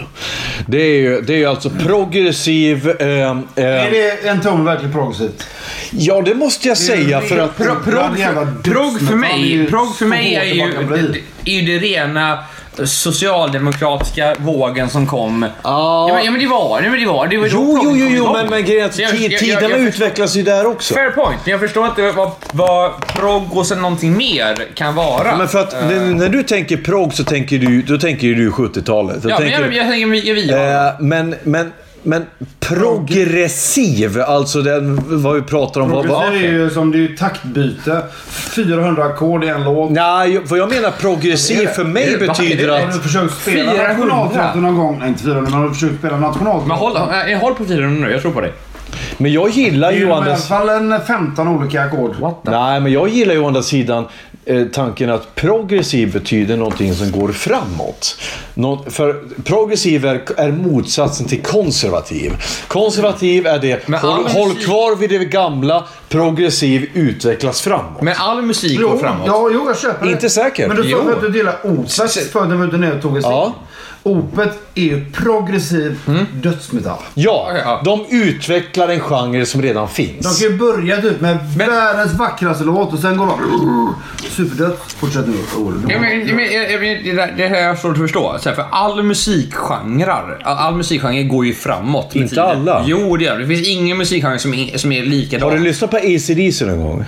S3: Det är ju, det är ju alltså progressiv... ehm, ehm,
S4: Är det en ton verkligen progressivt?
S3: Ja, det måste jag säga för att...
S1: Pro, progg,
S4: Jävla
S1: för, progg för
S4: dödsmetall är
S1: mig,
S4: ju
S1: progg för
S4: så
S1: mig är
S4: hårt
S1: ju,
S4: man kan bli.
S1: det, är ju det rena eh, socialdemokratiska vågen som kom.
S3: Ja.
S1: Ja, men, ja, men det var det. Men det var, det var då
S3: Jo,
S1: progg
S3: jo, jo,
S1: kom
S3: jo
S1: igång.
S3: men, men grejen är att
S1: Jag- jag-
S3: ti-
S1: jag-
S3: tiderna
S1: jag-
S3: utvecklas ju där också.
S1: Fair point. Jag förstår inte vad, vad progg och sen någonting mer kan vara. Eh,
S3: Men för att n- när du tänker prog så tänker du, då tänker ju du 70-talet. Då
S1: ja, men
S3: tänker,
S1: jag, jag tänker vi- vi har.
S3: eh, men, men, men progressiv, alltså den, vad vi pratar om. Vad,
S4: Progressiv
S3: vad,
S4: är ju som det är ju taktbyte. 400 ackord i en låt.
S3: nej, jag- vad jag menar progressiv för mig
S1: är det-
S3: betyder
S1: vad är det-
S4: Har
S3: att...
S4: du försökt spela
S1: 400?
S4: nationalteatern någon gång? Nej, inte 400, men har du försökt spela nationalteatern?
S1: Men håll, äh, håll på tiden nu, jag tror på dig.
S3: Men jag gillar
S4: Det är
S3: ju
S4: ju
S3: å
S4: i alla
S3: andra
S4: fall en 15 olika ackord. What
S3: Nej, men jag gillar ju å andra sidan eh, tanken att progressiv betyder någonting som går framåt. Nå- för progressiv är, är motsatsen till konservativ. Konservativ är det,
S1: Men all
S3: håll,
S1: musik-
S3: håll kvar vid det gamla, progressiv utvecklas framåt.
S1: Men all musik går
S4: Jo,
S1: framåt.
S4: ja, jo, jag köper det.
S3: Inte säker.
S4: Men du
S1: Jo.
S4: sa ju att du gillar Opet för när vi var nere och tog en
S3: Ja.
S4: ja. Opet är ju progressiv dödsmetall.
S3: Ja,
S1: Okej, ja.
S3: de utvecklar en genre som redan
S4: De
S3: finns.
S4: kan ju börja typ med världens vackraste låt och sen går de... Superdött. Fortsätt nu. Oh,
S1: Ja, men, ja, men, ja, men, det, där, det här är svårt att förstå. Så här, för all musikgenrer, all, all musikgenre går ju framåt med
S3: Inte
S1: tiden.
S3: alla.
S1: Jo, det gör det. Det finns ingen musikgenre som är, som är likadan.
S3: Har du lyssnat på AC/DC någon gång?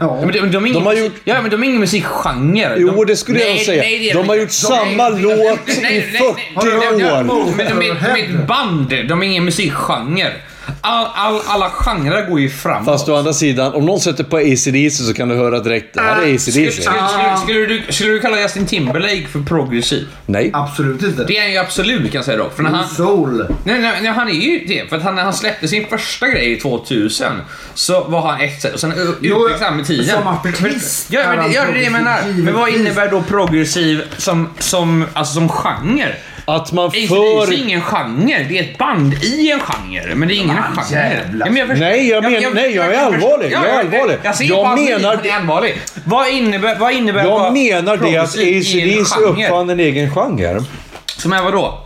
S1: Ja, men de, de, är ingen
S3: De har
S1: musik-
S3: gjort-
S1: Ja, men de är ingen musikgenre.
S3: Jo,
S1: de...
S3: det skulle jag säga.
S1: det är
S3: De har gjort samma låt i 40 år.
S1: Men de är, de är ett band. De är ingen musikgenre. All, all, alla genrer går ju framåt.
S3: Fast å andra sidan, om någon sätter på AC/DC så kan du höra direkt, det här är
S1: skulle,
S3: AC/DC.
S1: skulle, skulle, skulle, du, skulle du kalla Justin Timberlake för progressiv?
S3: Nej.
S4: Absolut inte.
S1: Det är han ju absolut kan jag säga dock. För när han,
S4: Soul.
S1: Nej, nej, nej, han är ju det. För att han, när han släppte sin första grej 2000 så var han ett och sen u-
S4: Jo,
S1: utvecklas han med tiden.
S4: som artist
S1: Ja,
S4: är
S1: men
S4: han
S1: det, ja, det är det jag menar.
S4: progressiv,
S1: Men vad
S4: givetvis.
S1: innebär då progressiv som, som, alltså som genre?
S3: Att man
S1: För... Det är
S3: för...
S1: ingen genre, det är ett band i en genre. Men det är ingen genre.
S4: jävlar.
S1: Ja, men jag förstår-
S3: Nej, jag men- nej, jag är
S1: kan förstå-
S3: allvarlig. Jag är allvarlig.
S1: Jag, ser
S3: Jag
S1: på hans
S3: menar
S1: min att
S3: det-
S1: han är allvarlig. Vad innebär, vad innebär
S3: Jag
S1: vad
S3: menar det att
S1: progressiv i en
S3: ACDC
S1: genre?
S3: uppfann en egen genre.
S1: Som är vadå?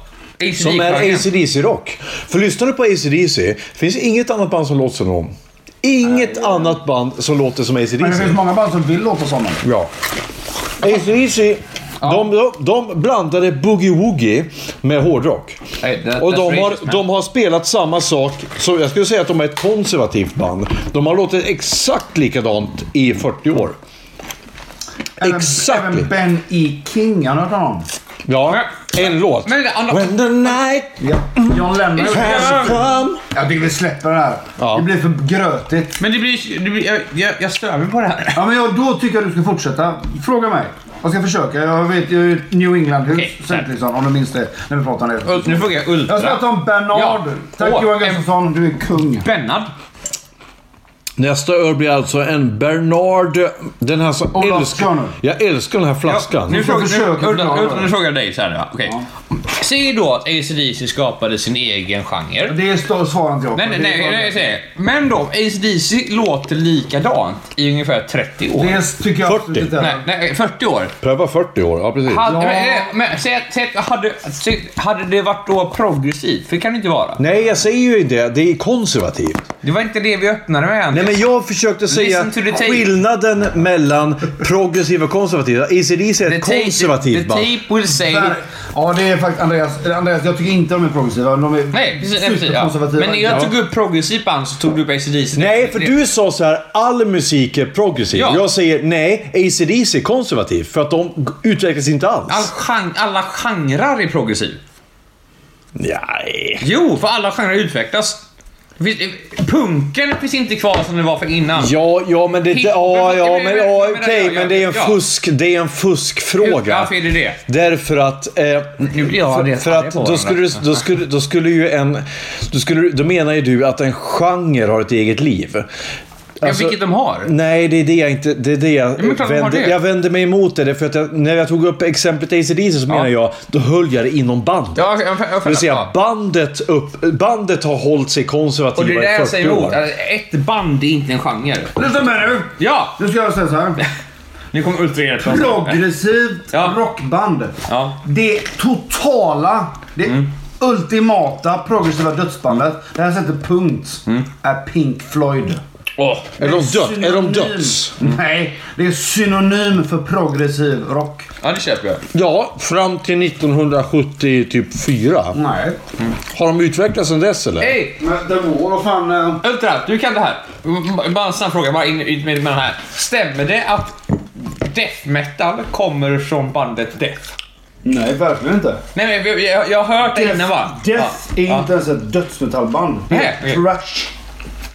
S3: Som är
S1: ACDC.
S3: ACDC-rock. För lyssnar du på ACDC, finns inget annat band som låter som dem. Inget annat band som låter som
S4: Men det
S3: ACDC.
S4: finns många band som vill låta sådana.
S3: Ja. ACDC De, de, de blandade boogie-woogie med hårdrock.
S1: Nej, that-
S3: och
S1: that's
S3: de
S1: racist,
S3: har,
S1: man.
S3: de har spelat samma sak. Så jag skulle säga att de är ett konservativt band. De har låtit exakt likadant i 40 år. Exakt.
S4: Även Ben E. King, han hörde honom.
S3: Ja, en låt.
S1: Men det andra-
S3: When the night
S4: John Lennon.
S1: Ja.
S3: come.
S4: Jag tycker vi släpper det här.
S3: Ja.
S4: Det blir för grötigt.
S1: Men det blir... Det blir jag, jag, jag stör mig på det här.
S4: Ja, men jag, då tycker jag du ska fortsätta. Fråga mig. Jag ska försöka. Jag vet ju ett New England-hus,
S1: Okej.
S4: Zachrisson, om du minns det. När vi pratade om
S1: Ul-
S4: det.
S1: Nu frågar jag
S4: Jag ska
S1: Ultra.
S4: prata om Bernard.
S1: Ja.
S4: Tack
S1: Åh,
S4: Johan
S1: en-
S4: Gustafsson, du är kung.
S1: Bennad.
S3: Nästa öl blir alltså en Bernard. Den här som
S4: Olof
S3: älskar...
S4: Skåne.
S3: Jag älskar den här flaskan.
S1: Nu
S4: får
S1: frågar,
S4: försöka
S1: nu, Ultra,
S4: förklara
S1: Ultra, nu
S4: det.
S1: frågar jag dig så här nu. va? Okej. Säg då att ACDC skapade sin egen genre.
S4: Det är svarar inte jag på.
S1: Nej, nej,
S4: Alltså, Det är
S1: nej,
S4: bara-
S1: nej, jag säger det. Men då, ACDC låter likadant i ungefär 30 år.
S4: Det tycker jag
S3: 40.
S4: absolut inte.
S1: Nej, nej, 40 år.
S3: Pröva 40 år, ja precis.
S1: Hade,
S4: Ja.
S1: men, men, säg, att- säg, att- hade, säg, hade det varit då progressivt? För det kan det inte vara.
S3: Nej, jag säger ju inte det. Det är konservativt.
S1: Det var inte det vi öppnade med.
S3: Nej, men jag försökte säga
S1: Listen to the tape.
S3: skillnaden mellan progressiva och konservativa. ACDC är
S1: the
S3: ett
S1: tape, the,
S3: konservativt band.
S1: tape will say...
S4: Där- Ja, det är faktiskt Andreas. Andreas, jag tycker inte de är progressiva. De är
S1: Nej, precis. Nej, precis ja.
S4: superkonservativa.
S1: Men när jag tog upp progressivt band så tog du upp ACDC.
S3: Nej, för du sa så här, all musik är progressiv.
S1: Ja.
S3: Jag säger nej, ACDC är konservativ. För att de g- utvecklas inte alls.
S1: All gen, alla genrer är progressiv.
S3: Nej.
S1: Jo, för alla genrer utvecklas. Det finns- eh, Punken finns inte kvar som den var för innan.
S3: Ja, ja men det...
S1: Hit-
S3: Ja,
S1: men-
S3: ja,
S1: men- men-
S3: men ja,
S1: men- men- ja,
S3: okej.
S1: ja,
S3: Men det är en
S1: ja.
S3: fusk... Det är en fuskfråga.
S1: Varför är det det?
S3: Därför att... Eh,
S1: Nu blir jag
S3: för,
S1: redan
S3: för
S1: arg
S3: att
S1: på
S3: då
S1: varandra.
S3: skulle, du- då, skulle, då skulle ju en... Då, skulle, då menar ju du att en genre har ett eget liv. Alltså-
S1: ja, vilket de har.
S3: Nej, det är det jag inte... Det är det jag,
S1: men klart de har
S3: vänder,
S1: det.
S3: jag vänder mig emot det. För att jag, när jag tog upp exemplet ACDC så menar jag, då höll jag det inom bandet.
S1: Ja, jag, jag, jag
S3: Det vill säga,
S1: ja.
S3: bandet, upp, bandet har hållit sig
S1: Och det är
S3: konservativa
S1: det
S3: i
S1: jag
S3: 40
S1: säger emot.
S3: år.
S1: Alltså, Ett band är inte en genre.
S4: Lyssna med nu!
S1: Ja!
S4: Nu ska jag säga så här.
S1: Nu kommer ultrahjälpen.
S4: Progressivt
S1: Ja.
S4: rockband.
S1: Ja. Mm.
S4: Det totala, det ultimata progressiva dödsbandet. Det här sätter punkt.
S1: Mm.
S4: Är Pink Floyd.
S1: Åh,
S3: Är de, död, är de
S4: Synonym. Mm.
S3: döds?
S4: Nej, det är synonym för progressiv rock.
S1: Ja, det köper jag.
S3: Ja, fram till 1974. Typ fyra.
S4: Nej.
S3: Har de utvecklats sedan dess eller?
S1: Hej!
S4: Men det var vad fan... eh,
S1: Ultra, du kan det här. M- Bara en snabb fråga, bara in, in med den här. Stämmer det att death metal kommer från bandet Death?
S4: Nej, verkligen inte.
S1: Nej, men jag- jag, jag har hört det innan va?
S4: Death
S1: ja.
S4: är
S1: ja.
S4: inte ens ett dödsmetallband. Det
S1: Nej, okej.
S4: är trash.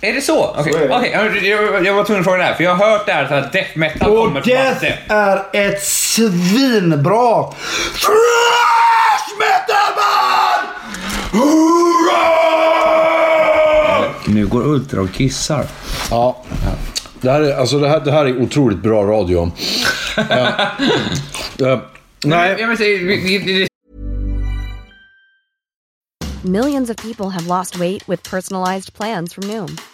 S1: Är det så? Okej,
S4: Så är det.
S1: okej, jag, jag, jag var tvungen att fråga det här för jag har hört det här så att death metal
S4: Och
S1: kommer från bandet
S4: Death
S1: Death.
S4: är ett svinbra trash metalband! Hurra!
S1: Nu går Ultra och kissar.
S3: Ja. Det här, är, alltså det, här, det här är otroligt bra (laughs) radio. Eh, eh,
S1: Nej.
S3: nej,
S1: Jag, men, det, det, det,
S6: Millions of people have lost weight with personalized plans from Noom,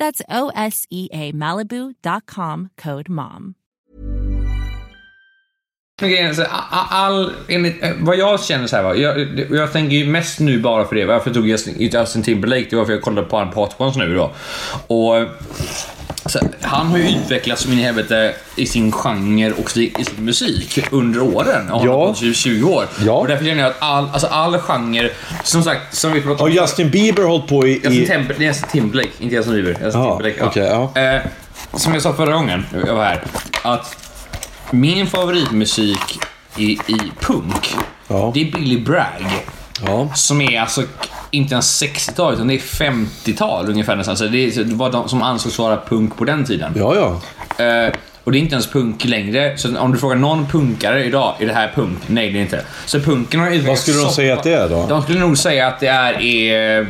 S7: That's O S E A Malibu.com code MOM.
S1: Men grejen är så här, a- a- all, enligt, eh, vad jag känner så här, va, jag, det- jag tänker ju mest nu bara för det. Varför jag tog Justin, Justin Timberlake? Det var för jag kollade på han på Hot Ones nu då. Och, eh, så, här, han har ju utvecklats som in i helvete i sin genre och i, i sin musik under åren. Och
S3: Ja.
S1: ja. 20 typ år.
S3: Ja.
S1: Och därför känner jag att all, alltså all genre, som sagt, som vi pratade
S3: Har
S1: om
S3: Justin Bieber hållit på i...
S1: Justin
S3: i...
S1: Timber, det är Justin Timberlake, inte Justin Bieber. Justin
S3: Ja,
S1: Timberlake, ja.
S3: okej,
S1: Eh, som jag sa förra gången jag var här, att min favoritmusik i, i punk,
S3: Ja.
S1: det är Billy Bragg.
S3: Ja.
S1: Som är alltså k- inte ens 60-tal, utan det är 50-tal ungefär nästan. Så det, är, det var de som ansågs vara punk på den tiden.
S3: Ja, ja.
S1: Eh, och det är inte ens punk längre. Så om du frågar någon punkare idag, är det här punk? Nej, det är inte. Så punken har
S3: Vad
S1: utvecklats
S3: skulle de
S1: så-
S3: säga att det är då?
S1: De skulle nog säga att det är... Eh,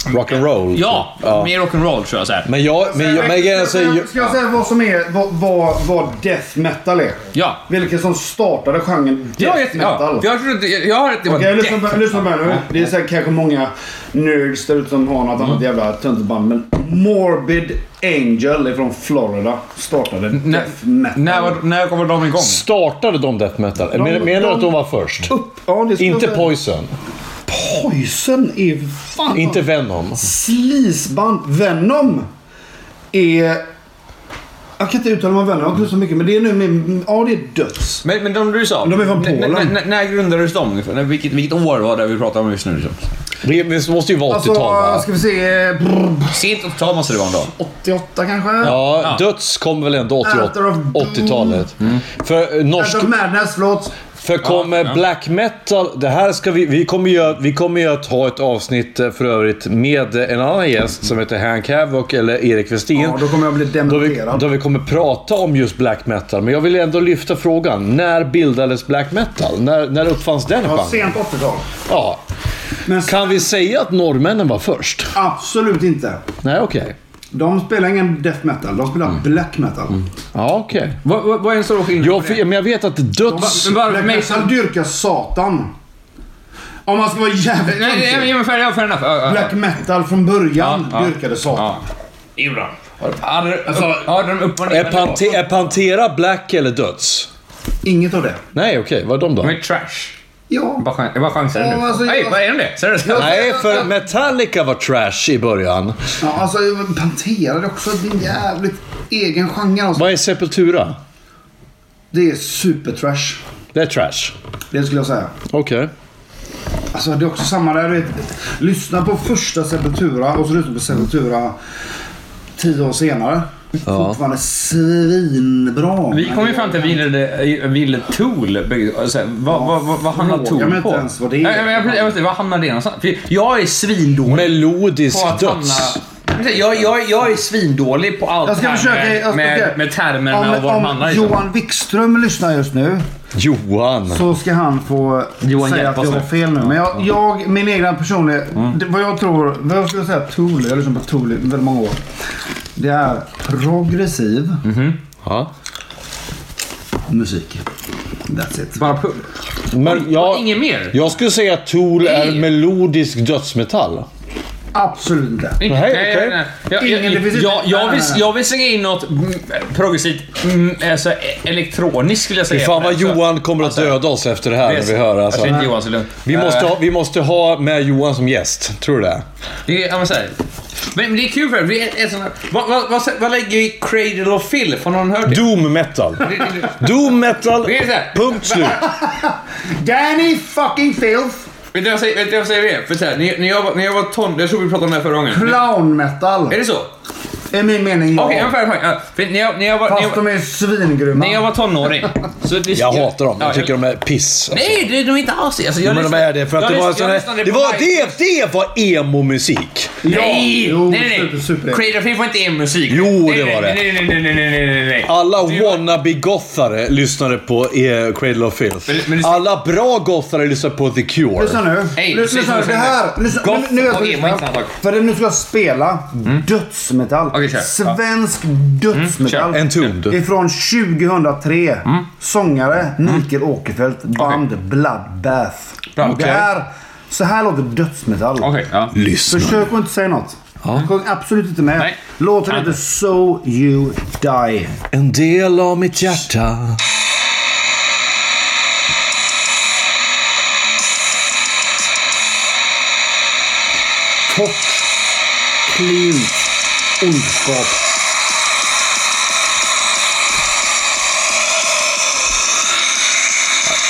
S3: Rock'n'roll?
S1: ja, mer rock'n'roll tror jag. Så här.
S3: Men jag... Men jag... Men jag,
S4: ska, jag,
S3: jag,
S4: ska jag säga vad som är vad, vad, vad death metal är?
S1: Ja.
S4: Vilket som startade genren
S1: Ja,
S4: death
S1: jag,
S4: metal.
S1: ja, jag trodde jag, jag hörde att det var
S4: Okej, lyssna,
S1: death.
S4: på- lyssna på mig nu. Det är säkert kanske många nerds där ute som har något
S1: Mm.
S4: annat jävla töntigt band. Men Morbid Angel från Florida startade
S1: När,
S4: death metal.
S1: när, var- när kommer de igång?
S3: startade de death metal? Men-
S4: De-
S3: Menar du
S4: de-
S3: att de var först?
S4: Upp, ja, det ska
S3: Inte
S4: jag säga.
S3: Poison?
S4: Poison är fan...
S3: Inte Venom?
S4: Slisband. Venom är... Jag kan inte uttala mig om Venom, jag har inte så mycket. Men det är nu med... Ja, det är döds.
S1: Men, men de du sa.
S4: De är från
S1: n-
S4: Polen.
S1: n- n- När grundades de? ungefär? När- Vilket, vilket år var det vi pratade om just nu? Liksom?
S3: Det det måste ju vara 80-tal
S4: Alltså,
S3: va?
S4: ska vi se... brr,
S1: Sent 80-tal måste det vara ändå.
S4: 88 kanske?
S3: Ja, Döds kom väl ändå 88
S4: Out of-
S3: 80-talet. För eh, norsk...
S4: Alltså, Madness, förlåt.
S3: För kommer black metal... Det här ska vi... Vi kommer ju, vi kommer ju att ha ett avsnitt eh, för övrigt med eh, en annan gäst som heter Hank Havoc eller Erik Westin.
S4: Ja, då kommer jag bli
S3: Då vi,
S4: dementerad.
S3: då vi kommer prata om just black metal. Men jag vill ändå lyfta frågan. När bildades black metal? När, när uppfanns den
S4: Ja,
S3: genren?
S4: sent 80-tal.
S3: Ja.
S4: Men
S3: Kan vi säga att norrmännen var först?
S4: absolut inte.
S3: Nej, okej.
S4: De spelar ingen death metal, de spelar
S3: Mm.
S4: black metal.
S3: Ja, okej.
S1: Vad vad- vad är den stora skillnaden?
S3: Jag, men jag vet att döds...
S1: Men bara för
S4: black
S1: mig-
S4: metal dyrkar satan. Om man ska vara jävligt
S1: Nej, nej, nej,
S4: töntig.
S1: men fair enough. fair enough. Ja, ja,
S4: Black metal från början
S1: ja.
S4: dyrkade satan.
S1: ja. Hade
S4: Alltså-
S1: upp- hade de upp och ner?
S3: Är, Pante- är Pantera black eller döds?
S4: Inget av det.
S3: Nej, okej. Vad är de då?
S1: De är trash.
S4: Ja.
S1: Jag bara chan- jag bara chansar nu.
S4: Ja, alltså,
S1: Nej,
S4: jag-
S1: vad är de det? Seriöst?
S3: Nej, för Metallica var trash i början.
S4: ja alltså Pantera det är också en jävligt egen genre. Alltså.
S3: Vad är Sepultura?
S4: Det är supertrash.
S3: Det är trash.
S4: Det skulle jag säga.
S3: Okej.
S4: Alltså det är också samma där. Du vet, lyssna på första Sepultura och så lyssna på Sepultura tio år senare. Fortfarande svinbra.
S1: Vi kom ju fram till att vi gillade- vi gillade Tool. bägge- alltså, Vad, vad, vad, vad hamnar
S4: Fråga
S1: Tool
S4: mig
S1: på?
S4: inte ens vad det är.
S1: Nej, men jag, jag, vet inte, vad hamnar det någonstans? För jag är svindålig. på
S3: Melodisk
S1: att
S3: döds.
S1: hamna... Jag, jag, jag är svindålig på allt
S4: Jag ska
S1: här
S4: försöka...
S1: med,
S4: jag ska-
S1: med,
S4: okej.
S1: med termerna
S4: Om-
S1: och vad de
S4: om
S1: handlar liksom.
S4: Johan Wikström lyssnar just nu
S3: Johan.
S4: så ska han få
S1: Johan,
S4: säga
S1: hjälp
S4: att
S1: oss
S4: jag har
S1: nu. Mm.
S4: fel nu. Men jag, jag min egna personliga... Det, vad jag tror... Vad jag skulle säga Tool, jag har lyssnat på Tool i väldigt många år. Det är progressiv
S1: Mm.
S3: Ja.
S4: musik. That's it.
S1: Bara pull.
S3: Men jag,
S1: Inget mer?
S3: jag skulle säga att Tool är melodisk dödsmetall.
S4: Absolut inte.
S1: Inte-
S3: Nej,
S1: nej,
S3: okej.
S1: nej. Jag-
S4: Ingen, det
S1: jag-
S4: finns inte-
S1: jag- jag
S4: nej,
S1: vill-
S4: nej, nej.
S1: Jag vill slänga in något mm, progressivt, mm, alltså, e- elektroniskt skulle jag
S3: Fy
S1: säga.
S3: fan vad
S1: Alltså,
S3: Johan kommer att döda oss efter det här när vi hör.
S1: Jag
S3: Alltså.
S1: tror inte Johan så lugnt.
S3: Vi, måste ha, vi måste ha med Johan som gäst. Tror du det?
S1: Det är, ja, men, så här. men men det är kul för vi är, är såna, vad, vad, vad, vad lägger vi i Cradle of Filth? Har någon hört det? (laughs)
S3: Doom metal.
S1: Det- det-
S3: Doom metal.
S1: Det är så här.
S3: Punkt slut.
S4: Danny fucking filth!
S1: Vet du vad jag säger- vet du vad jag säger? det? För så här, när, när, jag, var- när jag var ton, jag tror vi pratade om det här förra gången.
S4: Clown metal.
S1: Är det så?
S4: Är min mening ja.
S1: Okej, ja. ungefär. ja. För när jag, när jag var, när
S4: Fast
S1: jag,
S4: de är svingrymma.
S1: när jag var tonåring. Så det,
S3: Jag hatar dem.
S1: Ja,
S3: Jag tycker de är piss. alltså.
S1: Nej, det är de inte alls. Alltså,
S3: Jo,
S1: jag
S3: men de
S1: lyssnade-
S3: är det för att
S1: jag
S3: det var
S1: lyssnade- jag
S3: sån
S1: lyssnade
S3: här, det
S1: på
S3: var
S1: Mike-
S3: det, det var emo-musik.
S1: Nej!
S4: Jo,
S1: nej, nej, nej.
S4: super, super.
S1: Cradle of Filth var inte er musik.
S3: Jo,
S1: nej,
S3: det var
S1: nej, Nej, nej, nej, nej, nej, nej, nej, nej.
S3: Alla
S1: Det var-
S3: wannabe-gothare lyssnade på eh, Cradle of Filth.
S1: Men- men det-
S3: Alla bra gothare lyssnade på The Cure.
S4: Lyssna nu.
S1: Hej,
S4: Lys-
S1: precis
S4: lyssna nu.
S1: som
S4: Det
S1: jag
S4: här.
S1: sa.
S4: Lyssna,
S1: Goth
S4: nu, nu,
S1: och emo är inte samma
S4: lyssna.
S1: sak.
S4: För nu ska jag spela dödsmetall.
S1: Mm. Okej, kör. Ja. Mm,
S4: Svensk dödsmetall.
S1: kör.
S3: Entombed.
S4: Ifrån 2003.
S1: Mm.
S4: Sångare Mikael Åkerfeldt. Band Bloodbath.
S1: Bra,
S4: Det
S1: Mm. okej.
S4: här, så här låter dödsmetall.
S1: Okej, ja.
S3: Lyssna.
S4: Försök att inte säga något. Sjung absolut inte med.
S1: Nej.
S4: Låten heter So You Die.
S3: En del av mitt hjärta. Topp, clean, ondskap.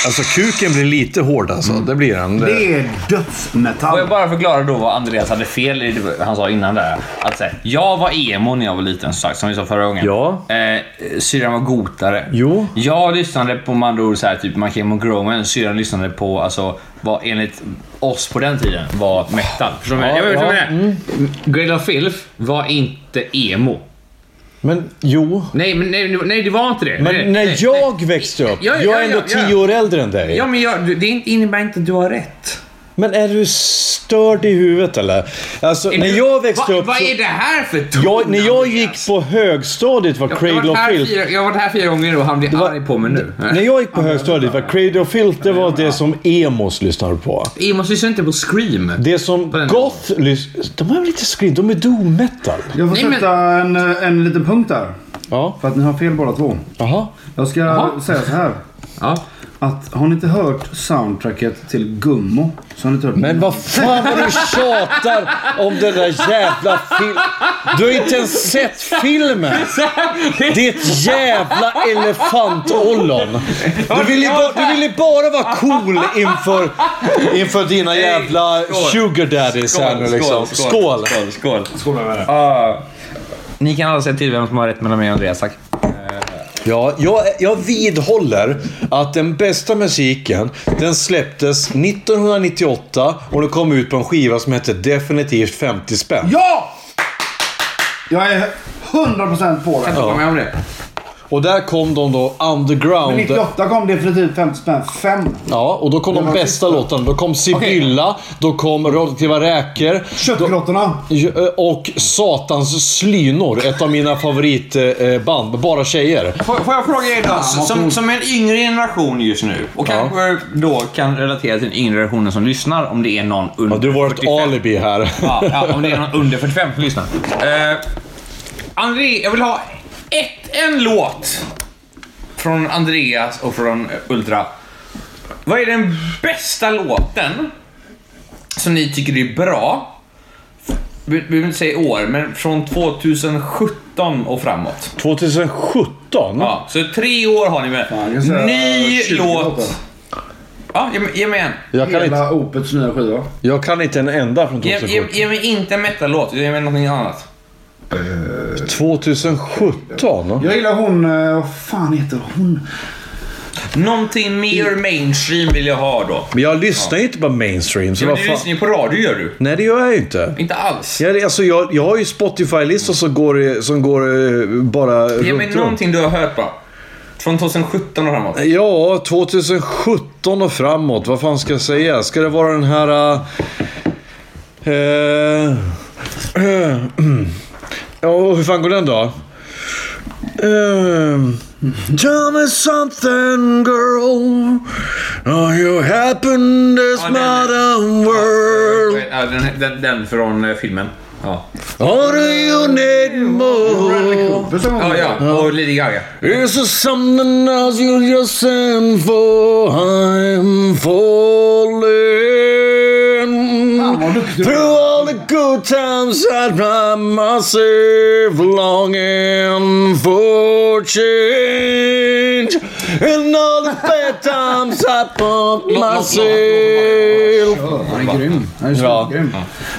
S3: Alltså kuken blir lite hård alltså.
S1: Mm.
S3: Det blir den. Det-
S2: Det är
S1: Får jag
S2: dödsmetall.
S1: bara förklara då vad Andreas hade fel i det han sa innan där. Att så här, jag var emo när jag var liten som sagt, som vi sa förra gången.
S3: Ja.
S1: Eh, syrran var gotare.
S3: Jo.
S1: Jag lyssnade på med andra ord så här, typ Michael Groman. Syrran lyssnade på, alltså, vad enligt oss på den tiden var metal. Förstår du? vad jag menar?
S3: Ja, Mm.
S1: Jag menar, jag menar, Grade of Filth var inte emo.
S3: Men jo.
S1: Nej, men nej, nej det var inte det. Nej,
S3: Men
S1: nej,
S3: när
S1: nej.
S3: jag växte upp.
S1: Ja, ja,
S3: Jag är
S1: ja,
S3: ändå
S1: ja.
S3: tio år äldre än dig.
S1: Ja, men jag, det innebär inte att du har rätt.
S3: Men är du störd i huvudet eller? Alltså,
S1: Är
S3: när
S1: du-
S3: jag växte
S1: Va-
S3: upp...
S1: Vad
S3: så-
S1: är det här för ton,
S3: jag, När jag
S1: Andreas?
S3: gick på högstadiet var
S1: Jag har,
S3: Cradle
S1: varit
S3: of
S1: här
S3: Filth...
S1: fyra, jag har varit här fyra gånger och han blir
S3: var-
S1: arg på mig nu.
S3: När jag gick på högstadiet var Cradle of Filth det var det som emos lyssnade på.
S1: Emos lyssnar inte på Scream.
S3: Det som
S1: På den-
S3: goth lyssnar... De är lite screen, de är doom metal.
S4: Jag får
S1: Nej, men-
S4: sätta en, eh, en liten punkt där.
S3: Ja.
S4: För att ni har fel båda två.
S3: Jaha.
S4: Jag ska
S1: Jaha.
S4: säga så här.
S1: Ja.
S4: Att har ni inte hört soundtracket till Gummo så har ni inte hört
S3: Men vad fan vad du tjatar om den där jävla filmen. Du har inte ens sett filmen. Ditt jävla elefantollon. Du vill ju bara, du vill ju bara vara cool inför, inför dina jävla
S1: skål.
S3: sugar daddies här nu liksom. Skål!
S1: Skål! skål, skål. Ah, ni kan alla säga till vem som har rätt mellan mig och Andreas, tack.
S3: Ja, jag, jag vidhåller att den bästa musiken, den släpptes 1998 och den kom ut på en skiva som hette Definitivt 50 spänn.
S4: Ja! Jag är 100% på det.
S1: Jag håller med om det.
S3: Och där kom de då underground.
S4: Men 98 kom definitivt 50 spänn 5.
S3: Ja, och då kom de
S4: var
S3: bästa
S4: sista.
S3: låtarna. Då kom Sibylla, då kom Radioaktiva räkor. Då,
S4: Köttgrottorna.
S3: och Satans slynor, ett av mina favoritband. Bara tjejer.
S1: Får, får jag fråga er då, som, som en yngre generation just nu och kanske då kan relatera till den yngre generationen som lyssnar om det är någon under
S3: Ja, du var ett
S1: 45.
S3: alibi här. (laughs)
S1: Ja, ja, om det är någon under 45 som lyssnar. Eh, André, jag vill ha ett, en låt från Andreas och från eh, Ultra. Vad är den bästa låten som ni tycker är bra? Vi vi behöver inte säga år, men från 2017 och framåt.
S3: 2017?
S1: Ja, så tre år har ni med.
S4: jag kan säga
S1: Ny
S4: 20 låtar.
S1: låt. Ja, ge, mig- ge mig en.
S3: Jag kan, inte,
S4: Hela Opets nya skiva.
S3: jag kan inte en enda från
S1: Ge, ge,
S3: 2017.
S1: ge mig inte en metal-låt, ge mig någonting annat.
S3: 2017?
S4: Jag gillar hon... eh, Vad fan heter hon?
S1: Någonting mer mainstream vill jag ha då.
S3: Men jag lyssnar ju inte på mainstream, så
S1: Ja,
S3: vad
S1: du
S3: fan...
S1: lyssnar ju på radio gör du.
S3: Nej, det gör jag ju inte.
S1: Inte alls.
S3: Jag, alltså, jag, jag har ju Spotify-listor som går, i- som går eh, bara
S1: Ge mig
S3: runt, runt.
S1: någonting du har hört bara. Från 2017 och framåt.
S3: Ja, 2017 och framåt. Vad fan ska jag säga? Ska det vara den här... eh, eh, (clears throat) ja, och hur fan går den då? Eh, tell me something girl. Are you happen this
S1: Ja, den-
S3: modern world?
S1: Ja, Eh, den, den, den från eh, filmen. Ja.
S3: Or do you need
S4: Bradley
S3: more?
S4: Cooper som hon
S1: ja,
S4: heter.
S1: ja. Och Lady Gaga.
S3: Is there something else you just sent for? I'm falling.
S4: Fan vad duktig du
S3: Through
S4: är.
S3: all the good times I find myself longing for change. And all the bad times I put myself...
S4: Han är grym. Han är
S3: Ja.
S4: så grym.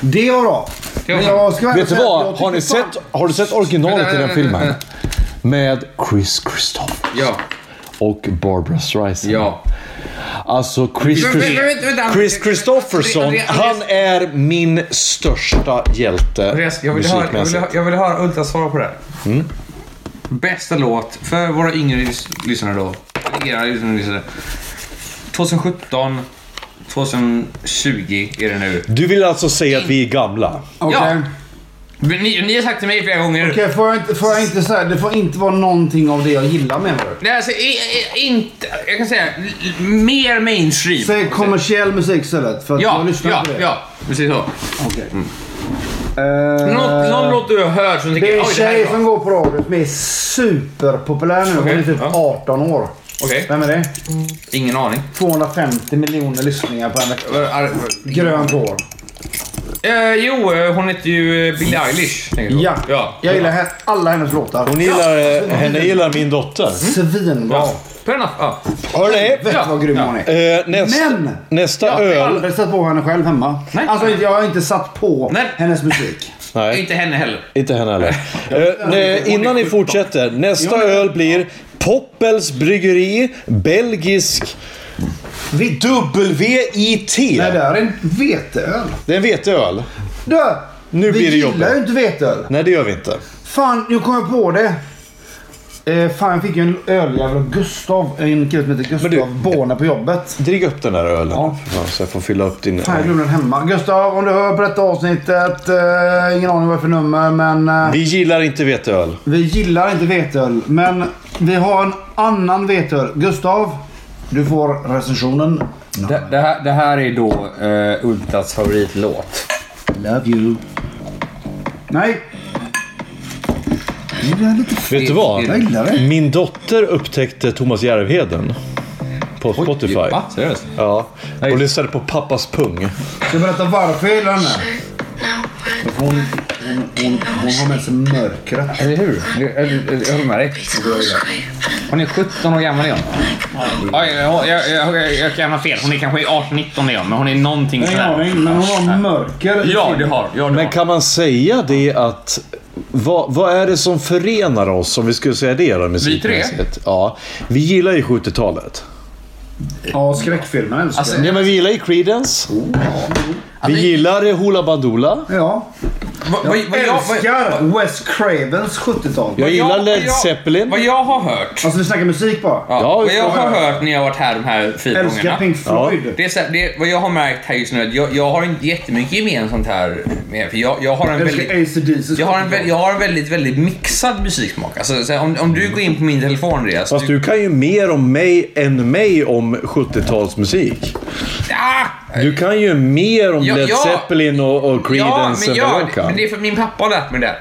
S4: Det var bra.
S1: Det var
S4: Men
S1: bra.
S4: jag ska
S3: Vet du
S4: säga att jag
S3: vad?
S4: tycker
S3: Har ni
S4: fan-
S3: sett, har du sett originalet till den (laughs) filmen? Med Chris Christopher
S1: Ja.
S3: och Barbara Streisand.
S1: Ja.
S3: Alltså Chris,
S1: Men- men- vänta, vänta, Andreas.
S3: Chris Christofferson,
S1: Andreas, Andreas.
S3: han är min största hjälte
S1: Andreas, jag vill, höra, jag, vill,
S3: musikmässigt.
S1: höra- jag vill höra Ultra svara på det här.
S3: Mm.
S1: Bästa låt för våra yngre lys- lyssnare då. Era yngre lyssnare. 2017, 2020 är det nu.
S3: Du vill alltså säga att vi är gamla?
S4: Okej.
S1: Ja. Men Ni, ni har sagt till mig flera gånger.
S4: Okej, får jag inte, får jag inte säga... Det får inte vara någonting av det jag gillar med det.
S1: Nej, alltså i, i, inte... Jag kan säga l- l- mer mainstream.
S4: Säg kommersiell musik istället. För att jag
S1: Ja,
S4: lyssnar
S1: ja,
S4: på det.
S1: ja. Precis så.
S4: Okej. Eh,
S1: Någon, någon låt du har hört som
S4: Det
S1: tycker
S4: är en
S1: oj, det här är
S4: tjej som
S1: bra.
S4: går på radio som är superpopulär nu. Hon är
S1: Okej,
S4: typ
S1: ja.
S4: 18 år.
S1: Okej,
S4: Vem är det?
S1: ingen aning.
S4: 250 miljoner lyssningar på en vecka.
S1: Var- är- var-
S4: Grönt hår.
S1: Eh, jo, eh, hon heter ju eh, Billie Eilish. tänker jag.
S4: Ja.
S1: ja.
S4: Jag gillar he- alla hennes låtar.
S2: Hon gillar, eh, henne gillar min dotter.
S4: Svinbra.
S1: Ja. Fair enough. Mm. Ja.
S2: Hörni,
S4: Vet vad grym hon är.
S2: eh, näst,
S4: Men!
S2: nästa
S4: Jag har
S2: öl...
S4: aldrig satt på henne själv hemma.
S1: Nej.
S4: Alltså jag har inte satt på
S1: Nej.
S4: hennes musik.
S2: Nej,
S1: Inte henne heller.
S2: inte
S1: (laughs)
S2: henne heller. Eh, nej, innan ni fortsätter. Nästa öl blir Poppels Bryggeri Belgisk
S4: Vitt.
S2: WIT.
S4: Nej, det här är en veteöl.
S2: Det är en veteöl.
S4: Du!
S2: Nu
S4: vi
S2: blir det
S4: gillar
S2: jobbigt.
S4: ju inte veteöl.
S2: Nej, det gör vi inte.
S4: Fan, nu kom jag på det. Eh, fan, jag fick ju en öljävel av Gustav. En kille som heter Gustav
S2: du-
S4: Borne på jobbet.
S2: Drick upp den där ölen.
S4: Ja.
S2: Ja, så jag får fylla upp din...
S4: Fan, jag glömde den hemma. Gustav, om du hör på detta avsnittet. Eh, ingen aning vad det är för nummer, men... Eh,
S2: Vi gillar inte veteöl.
S4: Vi gillar inte vetöl, men vi har en annan vetöl. Gustav, du får recensionen.
S1: Det, det, här, det här är då uh, Ultas favoritlåt.
S4: Love you. Nej. Det är lite f-
S2: Vet du vad?
S4: Jag gillar det.
S2: Min dotter upptäckte Thomas Järvheden på Spotify.
S1: Va? Seriöst?
S2: Ja,
S1: Nej.
S2: och lyssnade på pappas pung.
S4: Ska jag berätta varför jag gillar den här? För Hon, hon, hon, hon har med sig mörkret.
S1: Eller hur? Jag, jag, jag håller med dig. Hon är 17 år gammal igen. Ja, jag, jag, jag, jag, jag kan ha fel. Hon är kanske 18-19 igen, men hon är någonting
S4: Ingen
S1: sådär.
S4: aning, men hon har mörker. i
S1: Ja,
S4: sin-
S1: det har ja, det
S2: Men
S1: har.
S2: kan man säga det att... Vad, vad är det som förenar oss, om vi skulle säga det då musikmässigt? Ja. Vi gillar ju 70-talet.
S4: Ja, skräckfilmer älskar
S1: Alltså,
S4: jag.
S2: Ja, men vi gillar ju Creedence. Vi gillar eh, Hoola Bandoola.
S4: Ja.
S1: Vad- vad- vad jag- vad-
S4: Älskar Wes Cravens 70-tal.
S2: Jag gillar
S1: vad
S2: Led
S1: jag-
S2: Zeppelin.
S1: Vad jag har hört.
S4: Alltså vi snackar musik bara.
S1: Ja,
S2: Ja,
S1: vad
S2: just
S1: jag
S2: det.
S1: har hört när jag har varit här de här fyra
S4: Älskar
S1: gångerna.
S4: Pink Floyd.
S1: Det är så här, det, vad jag har märkt här just nu är att jag, jag har inte jättemycket gemensamt här med för jag, jag har en
S4: Älskar
S1: väldigt...
S4: AC/DC.
S1: Jag har, en, vä- jag har en väldigt, väldigt mixad musiksmak. Alltså, så här, om, om du går in på min telefon, Andreas.
S2: Fast du kan ju mer om mig än mig om 70-talsmusik.
S1: Ah!
S2: Du kan ju mer om
S1: Ja,
S2: Led
S1: ja.
S2: Zeppelin och, och
S1: Ja,
S2: Creedence
S1: men,
S2: än vad
S1: ja,
S2: jag
S1: det, men
S2: kan.
S1: det är för min pappa har lärt mig det.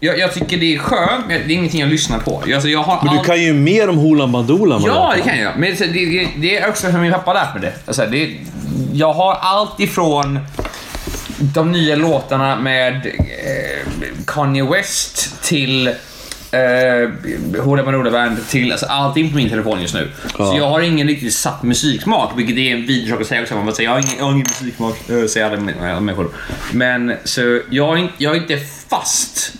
S1: Jag, jag tycker det är skönt, men det är ingenting jag lyssnar på. Jag, alltså, jag har
S2: Men du
S1: allt-
S2: kan ju mer om Hoolan Bandoolan. än vad
S1: Ja,
S2: jag
S1: det kan jag. Men det, det, det är också för min pappa lärt mig det. Alltså, det. Jag har allt ifrån de nya låtarna med eh, Kanye West till eh, Hoola Bandoola Band till alltså, allting på min telefon just nu. Så jag har ingen riktigt satt musiksmak, vilket är en vidrig sak att säga också. Man bara säger, jag har ingen, jag har ingen musiksmak, eh, säger alla män- alla människor. Men så jag, är in- jag är inte fast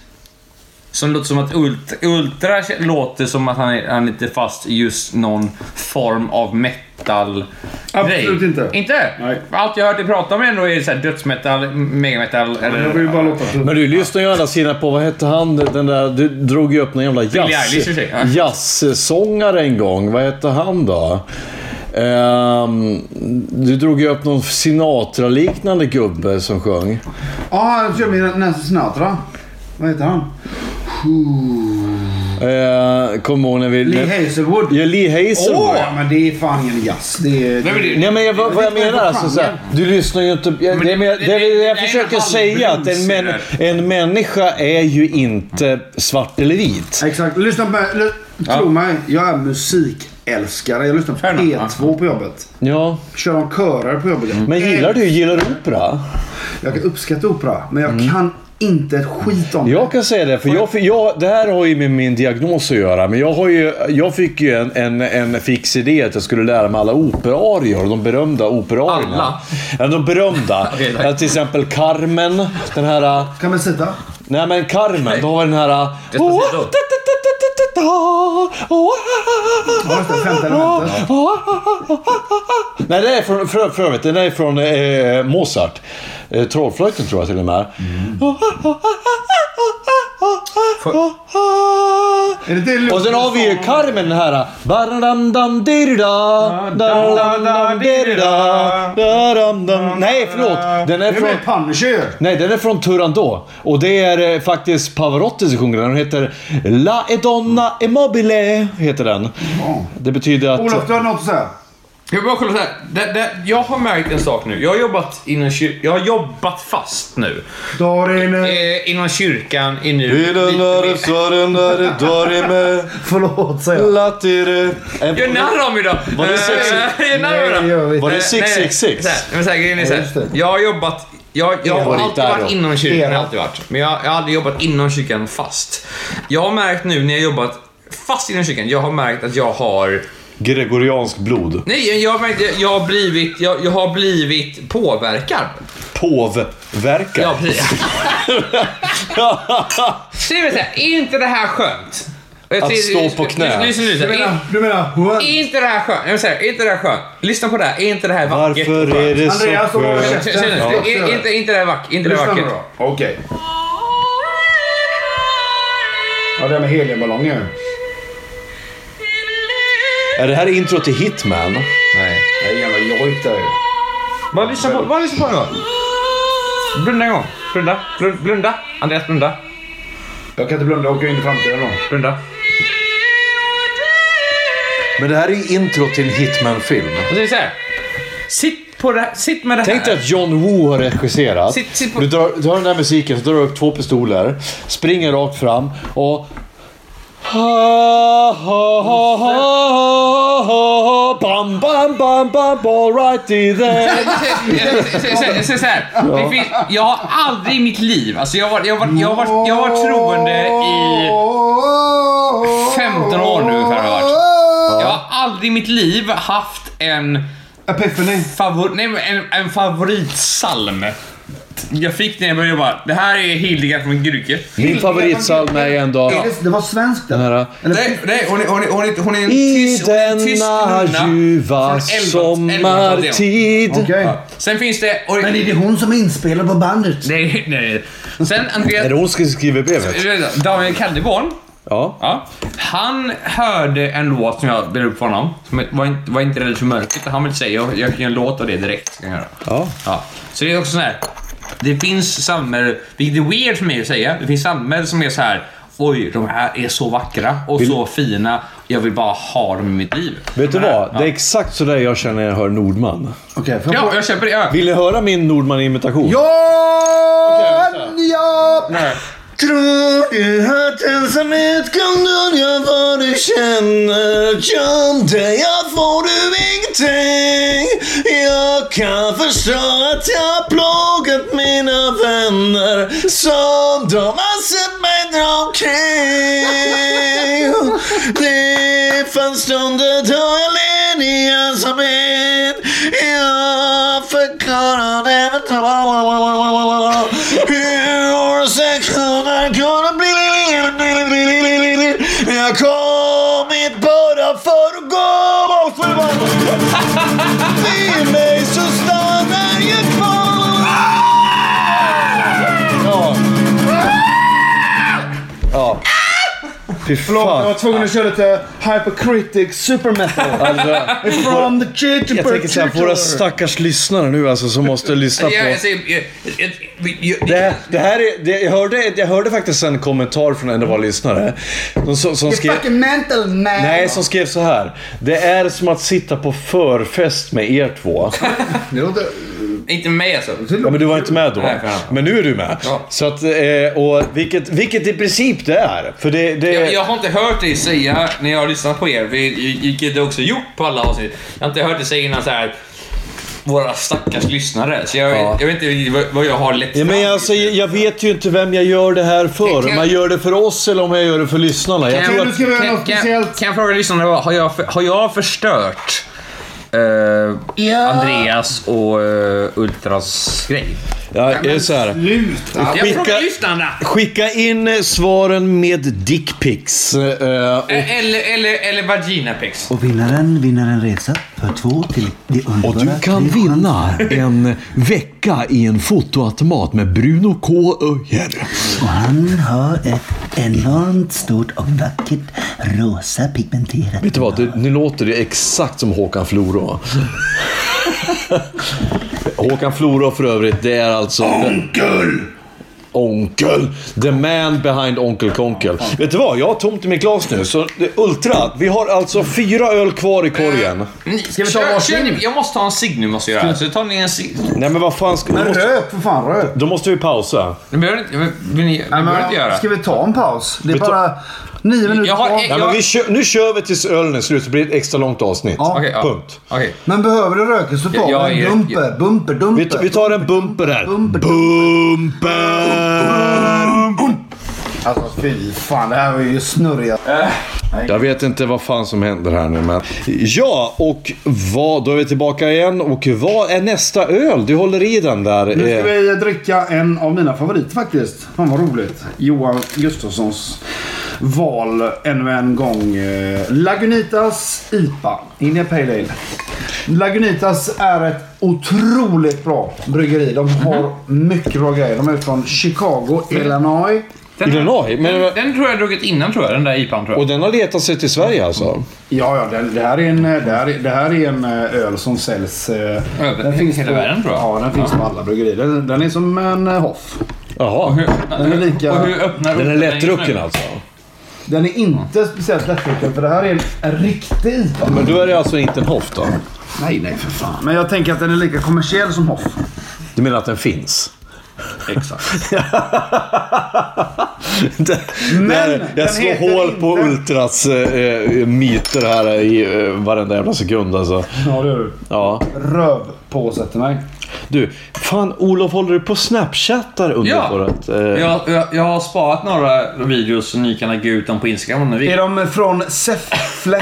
S1: som låter som att ult, Ultra låter som att han är, han är lite fast i just någon form av metal
S4: Absolut inte.
S1: Inte?
S4: Nej.
S1: Allt jag har hört dig prata om ändå är så här dödsmetal, megametal eller...
S4: Jag vill bara låta
S2: Men du lyssnar ju å andra sidan på, vad hette han, den där, du drog ju upp någon jävla
S1: Eilish i och för
S2: jazz,
S1: sig, ja.
S2: jazzsångare en gång. Vad hette han då? Ehm, du drog ju upp någon Sinatra-liknande gubbe som sjöng.
S4: Ja, jag kör min Nancy Sinatra. Vad heter han?
S2: Uh, Kommer ihåg när vi...
S4: Lee Hazelwood.
S2: Ja, Lee Hazelwood.
S4: Åh, ja, men det är fan ingen jazz. Det är...
S1: Nej, men det-
S2: Nej men jag, vad, vad jag
S4: Det är
S2: menar
S4: för
S2: alltså
S4: fan,
S2: så här, du lyssnar ju inte... Jag, det, är mer- det,
S1: det-
S2: det,
S1: det är
S2: jag
S1: en
S2: försöker
S1: halv
S2: säga att en,
S1: blues
S2: män,
S1: i
S2: en människa är ju inte svart eller vit.
S4: Exakt. Lyssna på mig. Ly- Tro mig, jag är musikälskare. Jag lyssnar på
S1: enough.
S4: P2 på jobbet.
S2: Ja.
S4: Kör de körer på jobbet.
S2: Men gillar du, gillar du opera?
S4: Jag kan uppskatta opera, men jag
S1: Mm.
S4: kan inte ett skit om
S2: Jag kan säga det, för, jag, för jag, det här har ju med min diagnos att göra. Men jag, har ju, jag fick ju en, en, en fix idé att jag skulle lära mig alla operarier. De berömda operarierna.
S1: Alla?
S2: Ja, de berömda.
S1: (laughs) Okej, tack.
S2: ja, till exempel Carmen. Den här...
S4: det. Kan man sitta?
S2: Nej men Carmen, då har vi den här... ah,
S1: Despacito.
S2: Åh, ta-ta-ta-ta-ta-ta. Åh, ah,
S4: Ja, just det. Femte elementet.
S2: ah, Nej, det är från, för, för övrigt, den är från eh, Mozart. Eh, Trollflöjten tror jag till och med.
S4: Är det det
S2: Och sen har vi ju Carmen den här. ah, Barandamdirda, darandamdirda, darandam- Nej, förlåt. Den är
S4: Det är med
S2: från...
S4: Punisher ju.
S2: Nej, den är från Turandot. Och det är eh, faktiskt Pavarotti som sjunger den. Den heter La Edonna Immobile. Heter den. Det betyder att...
S1: Alltså-
S4: Olof, du har något att säga?
S1: Jag vill bara kolla så här. Det, det, jag har märkt en sak nu. Jag har jobbat, inom kyr- jag har jobbat fast nu.
S3: Darin...
S1: Eh, inom kyrkan i nu...
S2: Vidare, svarandare, dorime,
S4: Förlåt säger jag.
S2: latire.
S1: Gör narr av mig då!
S2: Var det
S1: Eh,
S2: sex-
S1: gör narr av mig då.
S4: Nej, gör vi
S2: Var
S4: inte.
S2: det
S1: Nej, nej,
S2: 666?
S1: så här, Men så här, grejen är så
S4: Ja,
S1: här.
S4: just det.
S1: Jag har jobbat... Jag, jag har
S2: Era.
S1: alltid varit
S2: Era.
S1: inom kyrkan, har
S4: Era.
S1: jag alltid varit. Men jag, jag har aldrig jobbat inom kyrkan fast. Jag har märkt nu när jag jobbat fast inom kyrkan, jag har märkt att jag har...
S2: Gregoriansk blod.
S1: Nej, jag har märkt jag, jag har blivit, jag, jag har blivit påverkad.
S2: Påvverkar.
S1: Ja, precis. Så det vill säga, är inte det här skönt? Jag
S2: Att
S1: ser-
S2: stå på knä.
S1: Lyssna- lyssna nu, så
S3: Du
S1: här.
S3: menar...
S1: Är-
S3: Eh, Du menar... what?
S1: Är inte det här skönt? Jag vill säga, är inte det här skönt? Lyssna på det här, är inte det här vackert?
S2: (laughs) Varför är det så
S3: Andreas, håll
S2: skönt?
S3: käften.
S1: Känner du?
S3: Ja.
S1: Är- är Inte, inte det här vackert? Inte det här
S3: Lyssna nu
S1: vackert?
S3: då. Okej. Ja, det där med heliumballonger.
S2: Är det här intro till Hitman?
S1: Nej.
S3: Det är jävla jojk där ju.
S1: Bara lyssna på, bara lyssna på en gång. Blunda en gång. Blunda, blunda, blunda. Andreas, blunda,
S3: Jag kan inte blunda och åka in i framtiden då.
S1: blunda.
S2: Men det här är intro till en Hitman-film.
S1: Och så är det så här. Sitt på det här, sitt med det här. (laughs)
S2: Tänk dig att John Woo har regisserat.
S1: Sitt- sitt på-
S2: Du drar, du hör den där musiken, så drar du upp två pistoler, springer rakt fram och... Ha, ha, ha, ha, ha, ha, bam, bam, bam, bam, all righty then.
S1: Så här, det finns, jag har aldrig i mitt liv, alltså jag har varit jag var, jag var, jag var troende i 15 år nu ungefär har jag varit. Jag har aldrig i mitt liv haft en,
S3: Epiphany.
S1: favor, nej, men en, en favoritsalm. Jag fick när jag började jobba, det här är Hildegard från Gryke.
S2: Min favoritsalm är ändå
S4: Är det- Det var svenskt
S2: den
S4: det.
S2: här...
S1: Nej, nej hon, är, hon, är, hon, är, hon är en
S2: I
S1: tyst, hon är en tyst
S2: denna
S1: nunna
S2: ljuva
S1: från 11 11
S2: sommartid.
S4: Okej.
S1: Sen finns det... Och,
S4: Men är det hon som är inspelad på bandet?
S1: nej, nej. Sen
S2: Är det
S1: Andreas...
S2: hon som skriver brevet?
S1: Daniel Calderborn.
S2: Ja.
S1: Ja. Han hörde en låt som jag delade upp för honom. Som het- var inte, var inte rädd för mörkret. Han ville säga jag, jag kan göra en låt av det direkt. Ska jag göra.
S2: Ja.
S1: Ja. Så det är också så här. Det finns samhälle, vilket är weird för mig att säga, det finns samhälle som är så här. Oj, de här är så vackra och så fina. Jag vill bara ha dem i mitt liv.
S2: Vet du
S1: De här-
S2: vad? Det är exakt sådär jag känner när jag hör Nordman.
S4: Okej, får jag
S1: Ja, jag köper det. Ja.
S2: Vill ni höra min Nordman-imitation?
S4: Ja,
S3: Okej,
S4: ja.
S2: Tror du att ensamhet kan dölja vad du känner? Göm dig, jag får du ingenting. Jag kan förstå att jag plågat mina vänner som de har sett mig dra omkring. Det fanns stunder då jag led i ensamhet. Jag förklarade hur sekunder kunde bli... Jag kommit bara för att gå. För i mig så stannar jag kvar. Ja. Ja. Fy
S3: Förlåt, jag var
S2: fan.
S3: tvungen att köra lite hypercritic supermetal.
S2: Alltså,
S3: From the kitchen
S2: Jag tänker såhär, våra stackars lyssnare nu alltså som måste lyssna
S1: Jag,
S2: på...
S1: jag, säger- jag, jag, jag,
S2: Det, det här är, det, jag, hörde, jag hörde faktiskt en kommentar från en av våra lyssnare. De, som, som skrev,
S4: You're fucking mental man.
S2: nej, som skrev så här. Det är som att sitta på förfest med er två.
S4: Det låter-
S1: inte mig alltså.
S2: Ja, men du var inte med då.
S1: Nej, fan.
S2: Men nu är du med.
S1: Ja.
S2: Så att, eh, och vilket, vilket i princip det är. För det, det
S1: Jag, jag har inte hört dig säga när jag har lyssnat på er, vi- vilket du också gjort på alla avsnitt. Jag har inte hört dig säga innan så här våra stackars lyssnare. Så jag,
S2: Ja.
S1: jag vet inte vad- vad jag har lett
S2: Ja,
S1: fram
S2: men
S1: till.
S2: alltså, jag jag vet ju inte vem jag gör det här för.
S1: Kan-
S2: Om jag gör det för oss eller om jag gör det för lyssnarna. Jag
S1: Kan-
S2: tror
S3: Nu
S2: att...
S3: ska vi göra
S1: kan,
S3: något
S1: kan,
S3: speciellt.
S1: kan jag fråga lyssnarna, vad- har jag, för- har jag förstört eh, Andreas och eh, Ultras grej?
S2: Ja, jag är så här.
S3: Sluta!
S1: Jag frågar
S2: Skicka-
S1: lyssnarna!
S2: Skicka in eh, svaren med dickpics. eh, och-
S1: Eh, Eller, eller, eller vaginapex.
S4: Och vinnaren vinner en resa för två till det underbara...
S2: Och du kan
S4: Tre-
S2: vinna en vecka i en fotoautomat med Bruno K. Öjer.
S4: Och han har ett enormt stort och vackert rosa pigmenterat...
S2: Vet du vad? Du, nu låter det exakt som Håkan (laughs) Floro. Håkan Floro för övrigt, det är alltså... Onkel! Onkel. The man behind Onkel Konkel. Vet du vad? Jag har tomt i mitt glas nu. Så det- Ultra, vi har alltså fyra öl kvar i korgen.
S1: Ska
S8: vi ta varsin?
S1: Jag måste ha en cigg nu, måste jag göra. Så tar ni en cigg.
S2: Nej men vad fan ska... Då
S8: Men
S2: måste,
S8: röp, för fan röp.
S2: då måste vi pausa.
S1: Det behöver inte, vill ni, det behöver inte göra.
S8: Ska vi ta en paus? Det är
S2: Vi tar-
S8: bara nio minuter
S1: Jag har en-
S2: Nej,
S1: jag-
S2: men vi kör, nu kör vi tills ölen är slut, så blir det ett extra långt avsnitt.
S8: Ja.
S1: Okej, ja.
S2: Punkt.
S1: Okej.
S8: Men behöver du rökelse så tar
S1: Jag- jag
S8: vi
S1: är-
S8: en dumper, bumper,
S2: Vi,
S8: dumper.
S2: t- vi tar en bumper här.
S8: Bumper.
S2: Bumper!
S8: Alltså fy fan, det här var ju snurriga.
S2: Jag vet inte vad fan som händer här nu, men... Ja, och vad... Då är vi tillbaka igen. Och vad är nästa öl? Du håller i den där.
S4: Nu ska
S2: eh,
S4: vi dricka en av mina favoriter faktiskt. Fan vad roligt. Johan Gustafssons val ännu en gång. Eh, Lagunitas IPA. India Pale Ale.
S8: Lagunitas är ett otroligt bra bryggeri. De har
S1: Mhm.
S8: mycket bra grejer. De är från Chicago,
S1: Mm.
S8: Illinois.
S1: Den,
S2: Illinois? Men-
S1: den, den tror jag jag druckit innan, tror jag. Den där IPAn, tror
S2: Och
S1: jag.
S2: den har letat sig till Sverige alltså?
S4: Ja, ja. Det, det, här är en, eh, det, här, är- det här är en eh, öl som säljs... eh,
S1: Över hela världen, tror jag.
S4: Ja, den finns på alla bryggerier. Den, den är som en eh, Hoff.
S2: Jaha.
S4: Den är lika-
S1: Eh, och hur öppnar
S2: Den är
S1: upp just
S2: lättdrucken
S1: nu?
S2: alltså?
S4: Den är inte speciellt lättdrucken för det här är en, en riktig IPA.
S2: Men då är det alltså inte en hoff då?
S4: Nej, nej för fan. Men jag tänker att den är lika kommersiell som Hoff.
S2: Du menar att den finns? (laughs)
S4: Exakt.
S2: Det-
S4: Men
S2: det här-
S4: den
S2: jag slår
S4: heter
S2: hål på
S4: inte-
S2: Ultras eh, myter här i eh, varenda jävla sekund alltså.
S4: Ja, det gör du.
S2: Ja.
S4: Rövpåse till mig.
S2: Du, fan Olof håller du på och snapchattar under
S1: Ja.
S2: året? Eh,
S1: Jag, jag, jag har sparat några videos så ni kan lägga ut dem på Instagram om ni vill.
S4: Är de från Säffle?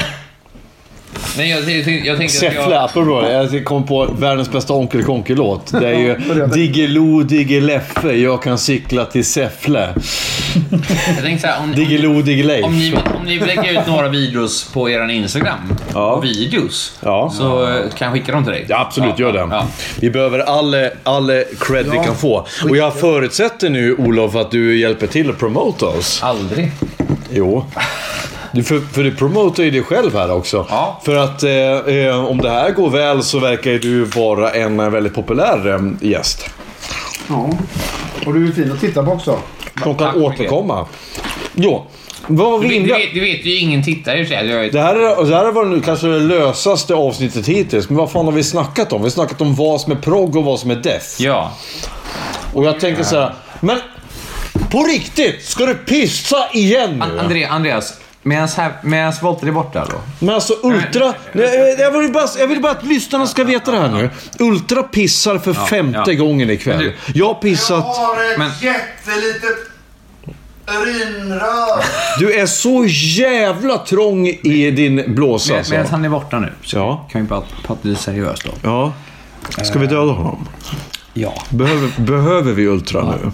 S1: Nej, jag, jag, tänkte- jag tänkte att
S2: Säffle,
S1: jag...
S2: apropå det. Jag kom på världens bästa Onkel Konke-låt. Det är ju
S4: det är det.
S2: Diggiloo Diggileffe, jag kan cykla till Säffle.
S1: jag tänkte så här, om,
S2: Diggiloo Diggilejf.
S1: om, ni, om ni vill lägga ut några videos på er Instagram,
S2: Ja.
S1: videos,
S2: Ja.
S1: så eh, kan jag skicka dem till dig.
S2: Ja, absolut, gör det.
S1: Ja.
S2: Vi behöver all, all cred vi kan få. Och jag förutsätter nu, Olof, att du hjälper till att promota oss.
S1: Aldrig.
S2: Jo. Du, för, för du promotar ju dig själv här också.
S1: Ja.
S2: För att eh, eh, om det här går väl så verkar ju du vara en eh, väldigt populär eh, gäst.
S4: Ja. Och du är fin att titta på också.
S2: Som
S1: Tack
S2: kan
S1: så
S2: återkomma. Jo. Vad var
S1: Du,
S2: vi
S1: vet- du,
S2: inne
S1: vet, du vet ju ingen tittare i och för sig. Alltså, Jag-
S2: det här, är, det här var nu kanske det lösaste avsnittet hittills, men vad fan har vi snackat om? Vi har snackat om vad som är prog och vad som är death.
S1: Ja.
S2: Och jag tänker så här, men på riktigt, ska du pissa igen
S1: An-
S2: nu?
S1: André, Andreas, medans, här, medans Volter är borta då?
S2: Men alltså Ultra... Nej, jag, vill bara, jag vill bara att lyssnarna ska veta det här nu. Ultra pissar för femte
S1: ja.
S2: gången ikväll.
S1: Men du-
S2: jag har pissat...
S8: har ett
S1: Men-
S8: jättelitet urinrör.
S2: Du är så jävla trång i din blåsa
S1: Med,
S2: alltså.
S1: medan han är borta nu så
S2: Ja.
S1: kan vi bara prata lite seriöst då.
S2: Ja. Ska vi döda honom?
S1: Ja.
S2: Behöver, behöver vi Ultra nu?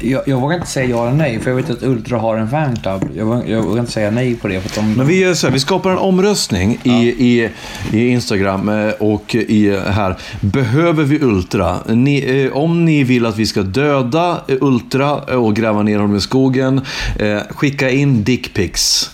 S1: Jag, jag vågar inte säga ja eller nej, för jag vet att Ultra har en fanclub. Jag, vågar- jag vågar inte säga nej på det. För att de...
S2: Men vi gör så här, vi skapar en omröstning i, i, i Instagram eh, och i eh, här. Behöver vi Ultra? Ni, eh, om ni vill att vi ska döda eh, Ultra eh, och gräva ner honom i skogen, eh, skicka in dickpics.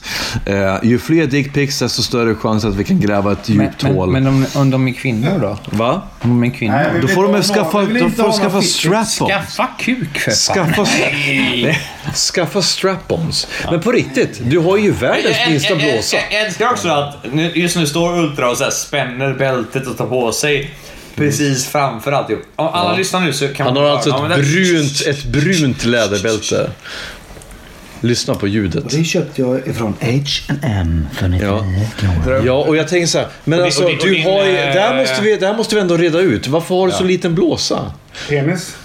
S2: Eh, ju fler dickpics, desto större chans att vi kan gräva ett djupt
S1: men,
S2: hål.
S1: men om, om de är kvinnor då?
S2: Va?
S1: Om de är kvinnor?
S4: Nej, vi
S2: Då
S4: vill
S2: får
S4: inte
S2: de
S4: ha
S2: skaffa,
S4: någon- vi vill
S2: då
S4: inte
S2: får de
S4: ha någon
S2: skaffa
S4: fisk.
S2: strap-ons.
S1: Skaffa kuk för fan!
S2: Skaffa, nej, (laughs) skaffa strap-ons. Men på riktigt, du har ju världens minsta blåsa.
S1: Jag älskar också att nu- just nu står Ultra och så här spänner bältet och tar på sig precis framför alltihop. Om alla lyssnar nu så kan
S2: Han
S1: man
S2: har
S1: höra
S2: alltså
S1: dem.
S2: ett
S1: Men det-
S2: brunt, ett brunt läderbälte. Lyssna på ljudet.
S8: Det köpte jag ifrån H&M för 99 kronor.
S2: Ja, och jag tänker så här, men
S1: det-
S2: alltså,
S1: och det- och
S2: du
S1: din,
S2: har ju, det, här
S1: eh,
S2: måste vi, det här måste vi ändå reda ut. Varför har du så liten blåsa?
S4: Penis?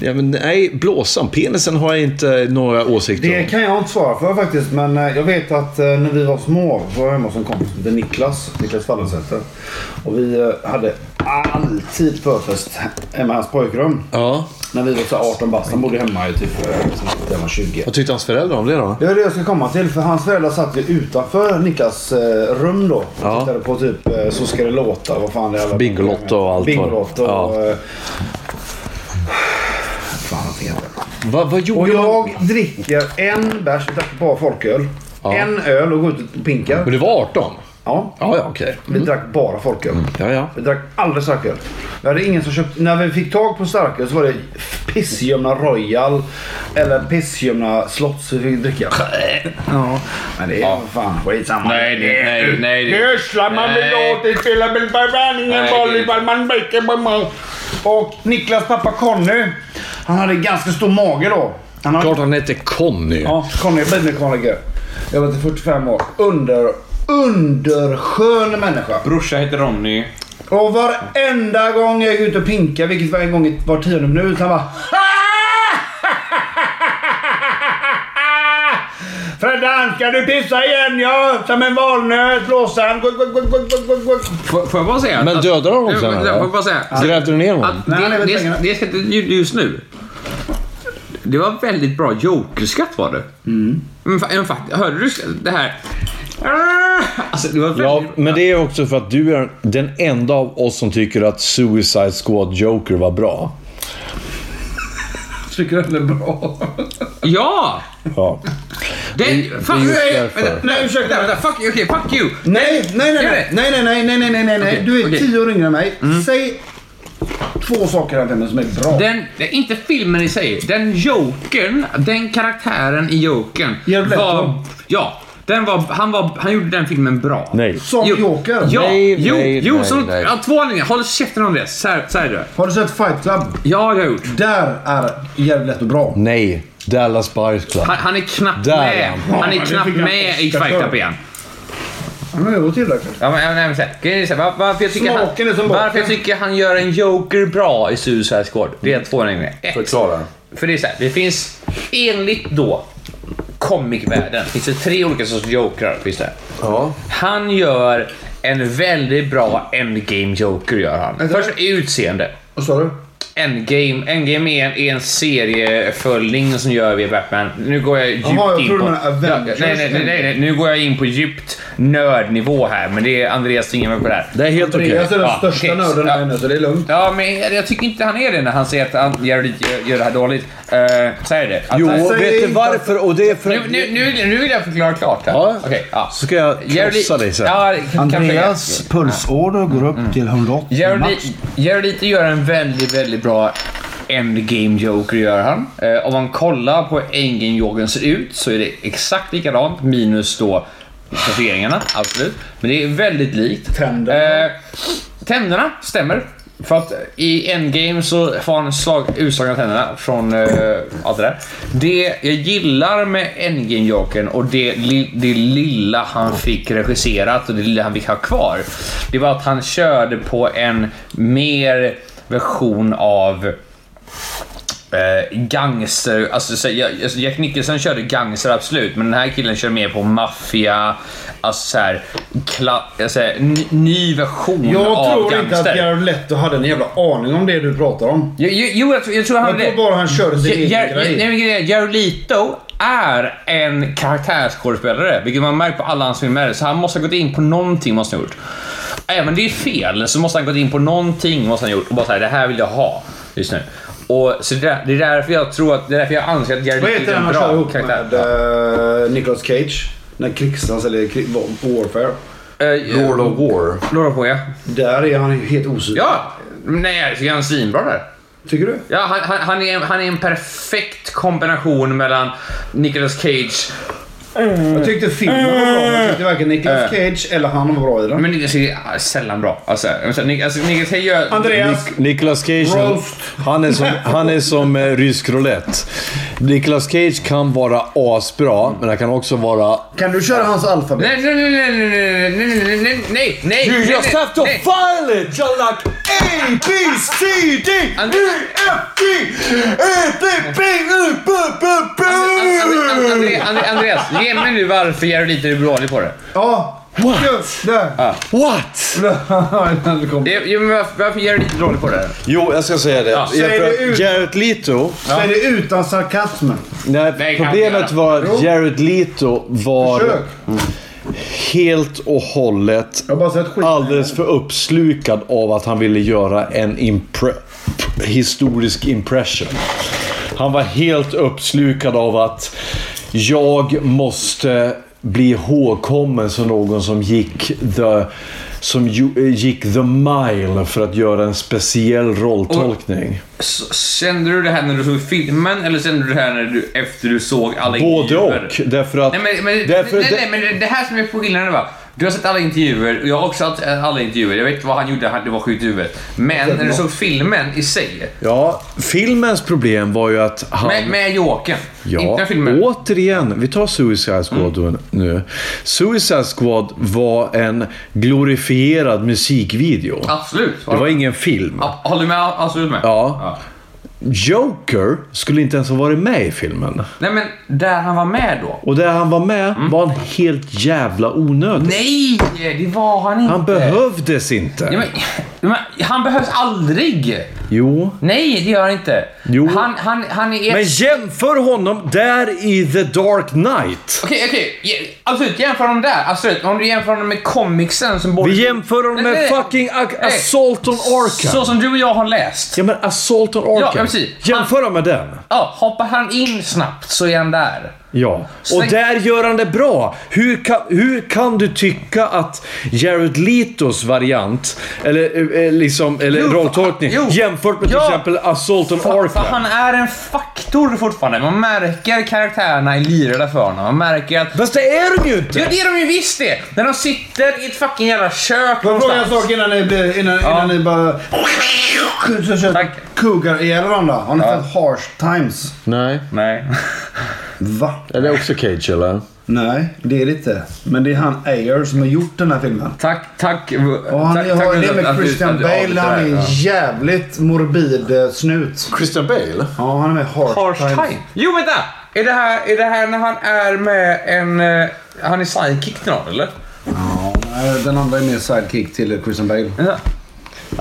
S2: Ja, men, nej, blåsan. Penisen har jag inte några åsikter
S4: Det
S2: om.
S4: kan jag inte svara för faktiskt. Men eh, jag vet att eh, när vi var små så var jag hemma hos en kompis som hette Niklas. Niklas Wallensäter. Och vi eh, hade alltid förfest hemma i hans pojkrum.
S2: Ja.
S4: När vi var så här 18 bast. Han bodde hemma i typ eh, sen jag var 20.
S2: Vad tyckte hans föräldrar om det då?
S4: Det är det jag ska komma till. För hans föräldrar satt ju utanför Niklas eh, rum då. Och
S2: Ja.
S4: tittade på typ eh, Så ska det låta. Vad fan det är.
S2: Bingolotto och allt vad-
S4: Bingolotto och...
S2: Ja.
S4: eh, Fan vad heter det?
S2: Va, vad gjorde
S4: Och
S2: man?
S4: jag dricker en bärs, drack bara folköl. En öl och går ut och pinkar.
S2: Men du var 18?
S6: Ja.
S2: Ja, ja, okej. Mm.
S6: Vi drack bara folköl.
S2: Ja, ja.
S6: Vi drack aldrig starköl. Vi hade ingen som köpte... När vi fick tag på starköl så var det pissgömna Royal eller pissgömna Slotts vi fick dricka. Ja, men det är fan skitsamma.
S1: Nej, nej, nej, nej.
S6: Nu ödslar man med
S1: Nej.
S6: låten, spelar med förvärvningen,
S1: Nej,
S6: volleyboll, (laughs) man bäcker, man- man... Och Niklas pappa Conny, han hade ganska stor mage då. Han hade
S2: Klart han hette Conny.
S6: Ja, Conny bilmekaniker. Jag var till 45 år. Under, underskön människa.
S1: Brorsa heter Ronny.
S6: Och varenda gång jag är ute och pinkar, vilket var en gång i var tionde minut, han bara... "Ah!" (laughs) Freddan, ska du pissa igen ja? Som en valnöt, blåsan. Guck, guck, guck, guck, guck, guck.
S1: Får, får jag bara säga?
S2: Men
S1: att-
S2: dödade de
S1: Jag-
S2: också,
S1: jag-
S2: eller?
S1: Får jag bara säga?
S2: Grävde du ner honom?
S1: Att
S6: Nej, han
S1: det,
S6: är väl
S1: det,
S6: pengarna.
S1: det ska inte ju- just nu. Det var väldigt bra jokerskatt var det.
S6: Mm.
S1: Men, fa- men fakt- hörde du det här? Alltså, det var väldigt...
S2: Ja, men det är också för att du är den enda av oss som tycker att Suicide Squad Joker var bra.
S6: Tycker den är bra?
S1: Ja!
S2: Ja.
S1: Det,
S2: Det-
S1: fuck,
S2: det är just
S1: nej,
S2: därför.
S1: vänta, nej, ursäkta. Vänta, fuck, you, okej, fuck you.
S6: Nej, nej,
S1: Gör
S6: nej,
S1: det.
S6: nej, nej, nej, nej, nej, nej, nej, nej.
S1: Okej,
S6: Du är
S1: okej. Mm.
S6: tio år yngre än mig. Säg två saker här till mig som är bra.
S1: Den, det är inte filmen i sig. Den jokern, den karaktären i jokern
S6: Jared Leto.
S1: var... Ja, den var, han, var, han gjorde den filmen bra.
S2: Nej.
S6: Som Joker?
S1: Ja,
S2: Nej,
S1: jo,
S2: nej,
S1: jo,
S2: nej,
S1: som,
S2: nej.
S1: Ja, två anledningar. Håll käften om det. Så här, så här är det.
S6: Har du sett Fight Club?
S1: Ja, det har jag gjort.
S6: Där är jävligt lätt och bra.
S2: Nej. Dallas Buyers Club.
S1: Han, han är knappt
S2: Där är
S1: med.
S2: han.
S1: Han
S6: Ja,
S1: är
S6: men
S1: knappt
S6: det fick jag
S1: med i
S6: inte
S1: Fight Up
S6: för.
S1: igen.
S6: Han har ju tillräckligt.
S1: Ja, men, ja, men, men, så här, grejen är så här, var- varför jag tycker
S6: Smaken är som
S1: han, varför jag
S6: baken.
S1: tycker han gör en joker bra i Suicide Squad. Det är två anledningar. Ett,
S6: Förklara.
S1: För det är så här, det finns enligt då comicvärlden finns det tre olika sorters jokrar. Finns det.
S2: Ja.
S1: Han gör en väldigt bra endgame joker gör han. Först i utseende.
S6: Vad sa du?
S1: Endgame, Endgame är en, är en serieföljning som gör vi Batman. Nu går jag djupt
S6: Jaha, jag
S1: in
S6: tror
S1: på...
S6: du menar Avengers.
S1: nej, nej, nej, nej, nej, nu går jag in på djupt nördnivå här, men det är Andreas tvingar mig på det här.
S2: Det är helt okej.
S6: Andreas är den
S1: Ja,
S6: största
S1: okej.
S6: nörden här inne, så det är lugnt.
S1: Ja, men jag tycker inte han är det när han säger att han gör, gör, gör det här dåligt. Uh, så är det. Att,
S2: Jo,
S1: han-
S6: säg
S2: vet du
S6: inte-
S2: varför? Och det är för...
S1: nu, nu, nu, nu vill jag förklara klart här.
S2: Ja.
S1: Okej, ja.
S2: Så ska jag
S1: Jared-
S2: krossa dig sen.
S1: Ja, kanske- Mm.
S4: Andreas pulsåder går upp till 180 max.
S1: Geraldito gör en väldigt, väldigt bra endgame joker gör han. Eh, om man kollar på endgame jokern ser ut så är det exakt likadant minus då tatueringarna, absolut. Men det är väldigt likt.
S6: Tänderna.
S1: Eh, tänderna stämmer. För att i endgame så får han slag, utslagna tänderna från eh, allt det där. Det jag gillar med endgame jokern och det, li, det lilla han fick regisserat och det lilla han fick ha kvar. Det var att han körde på en mer version av Eh, gangster, alltså så- ja, alltså, Jack Nicholson körde gangster absolut, men den här killen kör mer på maffia, alltså såhär, kla- alltså, ny, ny version
S6: Jag
S1: av
S6: tror
S1: gangster.
S6: inte att Jared Leto hade en jävla aning om det du pratar om.
S1: Jo, jo, jo jag, tror- jag tror han
S6: Jag tror bara han körde sin egen grej.
S1: grej. Jarolito är en karaktärsskådespelare, vilket man märker på alla hans filmer. Så han måste ha gått in på någonting måste han ha gjort. Även det är fel, så måste han gått in på någonting måste han ha gjort och bara såhär, det här vill jag ha just nu. Och så det, där- det är därför jag tror att, det är därför jag anser att
S6: Vad
S1: Jarolito
S6: heter
S1: är
S6: den
S1: en
S6: han kör
S1: bra
S6: ihop med
S1: karaktär.
S6: eh, Nicolas Cage? När krigsdans eller krig, va- Warfare.
S1: Eh,
S2: Lord of War.
S1: Lord of War, ja.
S6: Där är han ju helt osynlig.
S1: Ja! Nej, jag tycker han är svinbra där.
S6: Tycker du?
S1: Ja, han, han, han, är, han är en perfekt kombination mellan Nicolas Cage
S6: Jag tyckte filmen var bra. men Jag tyckte varken Nicolas
S1: Eh.
S6: Cage eller han var bra i den.
S1: Men Niklas är sällan bra. Alltså, alltså, Nik- alltså Niklas Hej gör...
S6: Andreas!
S2: Nicolas Cage, han,
S6: Roast.
S2: han är som, han är som eh, rysk roulette. Nicolas Cage kan vara asbra, men han kan också vara...
S6: Kan du köra hans alfabet?
S1: Nej, nej, nej, nej, nej, nej, nej, nej, nej, nej, nej,
S2: You
S1: nej,
S2: just
S1: nej,
S2: have to
S1: nej.
S2: file it! You're like A, B, C, D, E, F, G, E, D, B, U, B, B, B!
S1: Andre- Andre- Andre- Andre- Andreas, ge mig nu varför Gerolito är dålig på det.
S6: Ja! What? Där!
S2: What?
S6: (laughs) Han kom.
S1: Det- Jo, men varför varför Gerolito är dålig på det?
S2: Jo, jag ska säga det. Ja,
S6: säg det
S2: för att
S6: ut.
S2: Jared Leto...
S6: Säg det utan sarkasm.
S2: Nej,
S1: Nej, kan
S2: problemet
S1: inte
S2: var
S6: Jo.
S2: att Jared Leto var
S6: Försök.
S2: helt och hållet
S6: Jag har bara sett skit.
S2: alldeles för uppslukad av att han ville göra en impre- historisk impression. Han var helt uppslukad av att jag måste bli ihågkommen som någon som gick the, som ju, eh, gick the mile för att göra en speciell rolltolkning.
S1: S- Kände du det här när du såg filmen eller kände du det här när du, efter du såg alla
S2: Både
S1: intervjuer?
S2: och. Därför att...
S1: Nej, men, men,
S2: därför,
S1: nej, nej, men det- det här som är skillnaden va. Du har sett alla intervjuer och jag har också sett alla intervjuer. Jag vet vad han gjorde, han- det var sjukt i huvudet. Men när du såg filmen i sig,
S2: Ja, filmens problem var ju att han...
S1: med, med Jokern. Inte
S2: Ja,
S1: den filmen. Mm.
S2: återigen. Vi tar Suicide Squad nu. Suicide Squad var en glorifierad musikvideo.
S1: Absolut.
S2: Det var ingen film.
S1: Ja, Håller du med? Absolut med.
S2: Ja. Joker skulle inte ens ha varit med i filmen.
S1: Nej men, där han var med då.
S2: Och där han var med var han helt jävla onödig.
S1: Mm. Nej, det var han inte.
S2: Han behövdes inte.
S1: Ja, men, men, han behövs aldrig.
S2: Jo.
S1: Nej, det gör han inte.
S2: Jo.
S1: Han, han, han är...
S2: Men jämför honom där i The Dark Knight.
S1: Okej, okej. Ja, Absolut, jämför honom där. Absolut. Om du jämför honom med comicsen som både...
S2: Vi jämför honom
S1: Nej,
S2: med
S1: nej.
S2: fucking Ak-
S1: Nej.
S2: Assault on Arkham.
S1: Så som du och jag har läst. Ja.
S2: Ja men Assault on Arkham.
S1: ja, precis.
S2: Jämför dem med den.
S1: hoppar han in snabbt så är han där.
S2: Ja.
S1: Släng-
S2: Och där gör han det bra. Hur kan, hur kan du tycka att Jared Letos variant, eller eh, eh, liksom, eller
S1: Jo,
S2: rolltolkning,
S1: jo.
S2: jämfört med till
S1: Ja.
S2: exempel Assault on
S1: För, för
S2: Arkham.
S1: han är en faktor fortfarande. Man märker karaktärerna i lirarna för honom. Man märker att...
S2: Fast det är de ju
S1: Ja,
S2: inte!
S1: det är de ju visst det! När de sitter i ett fucking jävla kök
S4: Får jag fråga en
S1: någonstans.
S4: sak innan ni, blir- innan, innan ni bara... Så kör
S1: Tack.
S4: kuggar ihjäl varandra. Har ni sett Harsh Times?
S2: Nej.
S1: Nej. (laughs)
S4: Va?
S2: Är det också Cage eller?
S4: Nej, det är det inte. Men det är han Ayer som har gjort den här filmen.
S1: Tack, tack.
S4: Och han
S1: tack,
S4: är, har,
S1: tack
S4: det är
S1: att
S4: med
S1: du- att
S4: Christian
S1: du
S4: Bale.
S1: avbryter
S4: Han är
S1: det
S4: en
S1: här.
S4: jävligt morbid eh, snut.
S2: Christian Bale?
S4: Ja, han är med i Harsh,
S1: Harsh
S4: Times.
S1: time. Jo, vänta! Är det, här, är det här när han är med en... eh, Han är sidekick till någon, eller?
S4: Ja, nej, den andra är mer sidekick till eh, Christian Bale.
S1: Ja.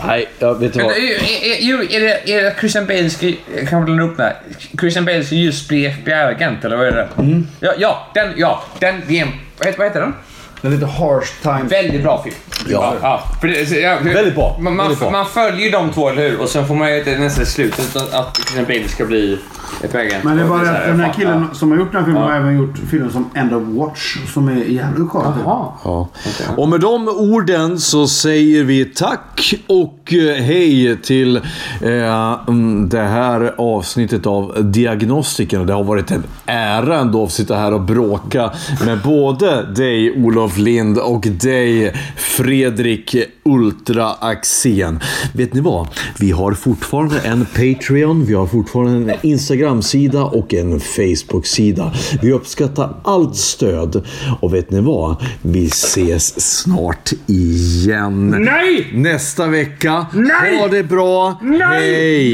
S2: Nej, jag vet inte
S1: Men,
S2: vad.
S1: eh, eh, Jo, är det, är det Christian Bale ska... Jag kan blanda upp det här. Christian Bale ska just bli FBI-agent, eller vad är det?
S2: Mm.
S1: Ja, ja, den, ja, den, det är en... Vad heter, vad heter den?
S4: Den heter Harsh Times.
S1: Väldigt bra film.
S2: Ja.
S1: för det, så, ja för,
S2: Väldigt bra,
S1: Man, man,
S2: väldigt bra.
S1: man följer ju de två, eller hur? Och sen får man ju ett- nästan i slutet att- att Christian Bale ska bli FBI-agent.
S4: Men det är bara
S1: Och så
S4: det
S1: här,
S4: att den här
S1: fan,
S4: killen
S1: ja.
S4: som har gjort den här filmen har även gjort filmen som End of Watch som är jävligt skön.
S1: Ja.
S2: Ja. Och med de orden så säger vi tack och eh, hej till eh, mm, det här avsnittet av Diagnostiken. Och Det har varit en ära ändå att sitta här och bråka med både dig Olof Lind och dig Fredrik Ultra Axén. Vet ni vad? Vi har fortfarande en Patreon, vi har fortfarande en Instagram-sida och en Facebook-sida. Vi uppskattar allt stöd. Och vet ni vad? Vi ses snart igen. Nej! Nästa vecka. Nej! Ha det bra. Nej! Hej!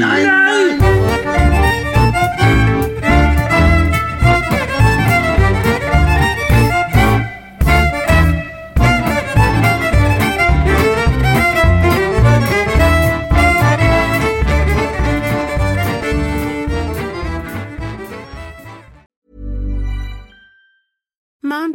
S3: Mom